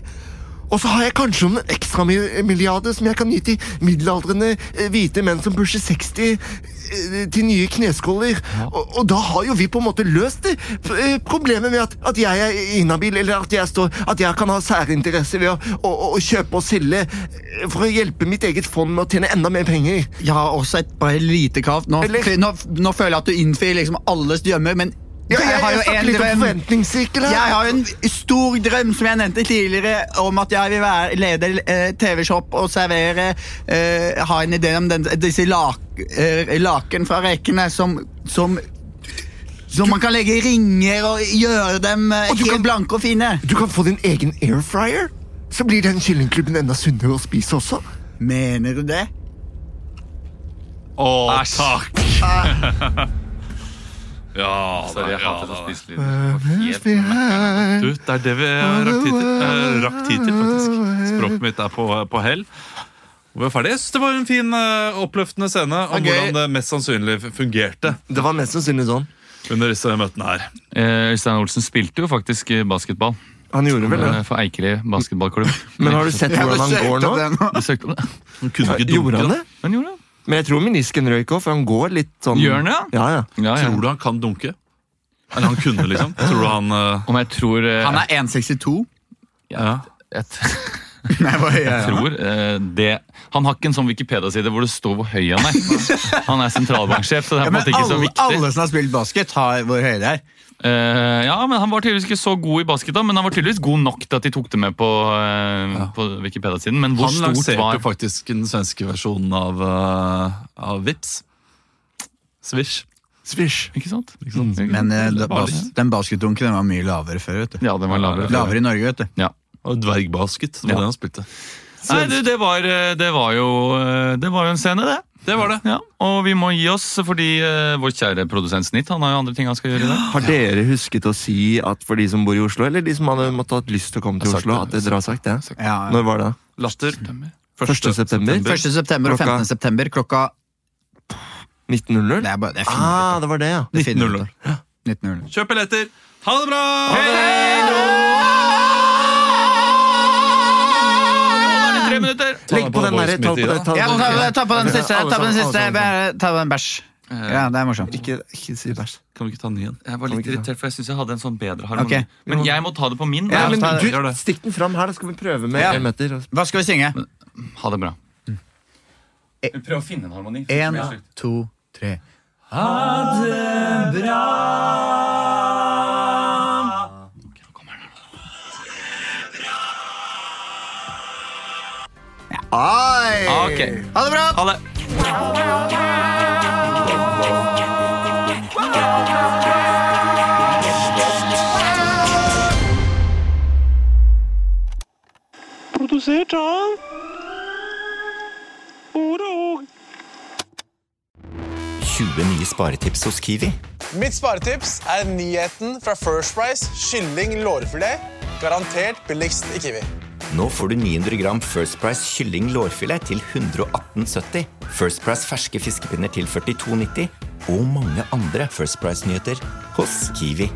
Og så har jeg kanskje om en ekstra mi- milliarde som jeg kan gi til middelaldrende eh, hvite menn som pusher 60 eh, til nye kneskåler. Og, og da har jo vi på en måte løst det. P- eh, Problemet med at, at jeg er inhabil, eller at jeg, står, at jeg kan ha særinteresse ved å, å, å- å kjøpe og selge eh, for å hjelpe mitt eget fond med å tjene enda mer penger.
Jeg har også et bare lite krav. Nå,
Eller-
f- nå, nå føler jeg at du innfrir liksom alles drømmer, men
Ja, jeg,
har
jeg,
jo en
snakker litt om
drøm.
forventningssirkel her.
Jeg har jo en stor drøm, som jeg nevnte tidligere, om at jeg vil være, lede eh, TV-shop og servere eh, Ha en idé om den, disse lak, eh, laken fra rekene som, som som man kan legge i ringer og gjøre dem eh,
Og du
helt
kan-
blanke og fine.
Du kan få din egen air fryer. Så blir den kyllingklubben enda sunnere å spise også.
Mener du det?
Å, takk! ja,
Sorry, jeg
da, ja,
hatet å
da.
spise lyd.
Du, det er det vi rakk tid til, eh, rakk tid til faktisk. Språket mitt er på, på hell. Og vi er ferdig. Jeg synes det var en fin, eh, oppløftende scene om
Det er gøy.
hvordan det mest sannsynlig fungerte
Det var mest sannsynlig sånn.
under disse møtene her.
Eh, Øystein Olsen spilte jo faktisk eh, basketball
Han gjorde vel det.
eh, for Eikeli basketballklubb.
Men har du sett hvordan han går nå?
Du søkte om det?
Hun kunne ikke dunke,
Gjorde han
da.
det?
Men gjorde det.
Men jeg tror menisken røyk òg, for han går litt sånn
Gjør han det?
Ja, ja.
Ja, ja.
Tror du han kan dunke? Eller han kunne, liksom? Tror du han eh,
Om jeg tror eh,
Han er 1,62.
ja.
jeg, t-
Nei, hva gjør jeg?
tror eh, det Han har ikke en sånn Wikipedia-side hvor det står hvor høy han er. Han er sentralbanksjef, så det er på en
Men
måte ikke så
alle,
viktig.
alle som har spilt basket, har hvor høye de er.
Eh, ja, men Han var tydeligvis ikke så god i basket, da, men han var tydeligvis god nok til at de tok det med på, eh, på Wikipedia-siden. Men hvor
Han
stort
lanserte
var
jo faktisk den svenske versjonen av, uh, av Vips. Swish.
Svisj.
Ikke sant? Mm.
Men eh, da-
Bare
bas,
litt.
den basketdunken den var mye lavere før. vet du.
Ja, den var lavere. før.
Lavere i Norge, vet du.
Og dvergbasket. Det
Ja.
var det han spilte.
Nei, du, det var, eh, det var jo eh, Det var jo en scene, det.
Det var det.
Ja, og vi må gi oss fordi eh, vår kjære produsent Snitt Han har jo andre ting han skal gjøre i dag.
Har dere husket å si at for de som bor i Oslo, eller de som hadde måttet hatt lyst til å komme til
Jeg har sagt
Oslo,
det.
at dere har sagt det?
Ja, ja.
Når var det?
Latter.
1. september?
1. september og
Klokka-
15. september klokka
1900?
Det er bare det er fint.
Ah, det var det, ja.
Det finner
19.00.
du ut av. 1900.
Kjøp billetter. Ha det bra!
Bare Tre minutter!
Legg på den derre
Voice
ta på
Media.
det, ta
Ja,
på
ta,
det.
ta på den siste.
Alle
Ta på den
sammen,
siste.
alle
Bare Ta på den bæsj. Ja, det er morsomt.
Ikke, ikke si bæsj.
Kan vi ikke ta den igjen?
Jeg var
Kan vi
litt
ikke ta-
irritert, for jeg syns jeg hadde en sånn bedre harmoni.
Ok.
Men jeg må ta det på min.
Ja,
og
men
ta det.
du,
Gjør det.
Stikk den fram her, da skal vi prøve med
Ja.
en meter. altså.
Hva skal vi synge?
Ha det bra.
Mm.
Prøv å finne en harmoni.
Én, to, tre.
Ok.
Ha det bra!
Ha det.
Produsert av Ordet og
20 nye sparetips hos Kiwi.
Mitt sparetips er nyheten fra First Price kylling lårfilet. Garantert billigst i Kiwi.
Nå får du 900 gram First Price kylling lårfilet til 118,70. First Price ferske fiskepinner til 42,90. Og mange andre First Price-nyheter hos Kiwi.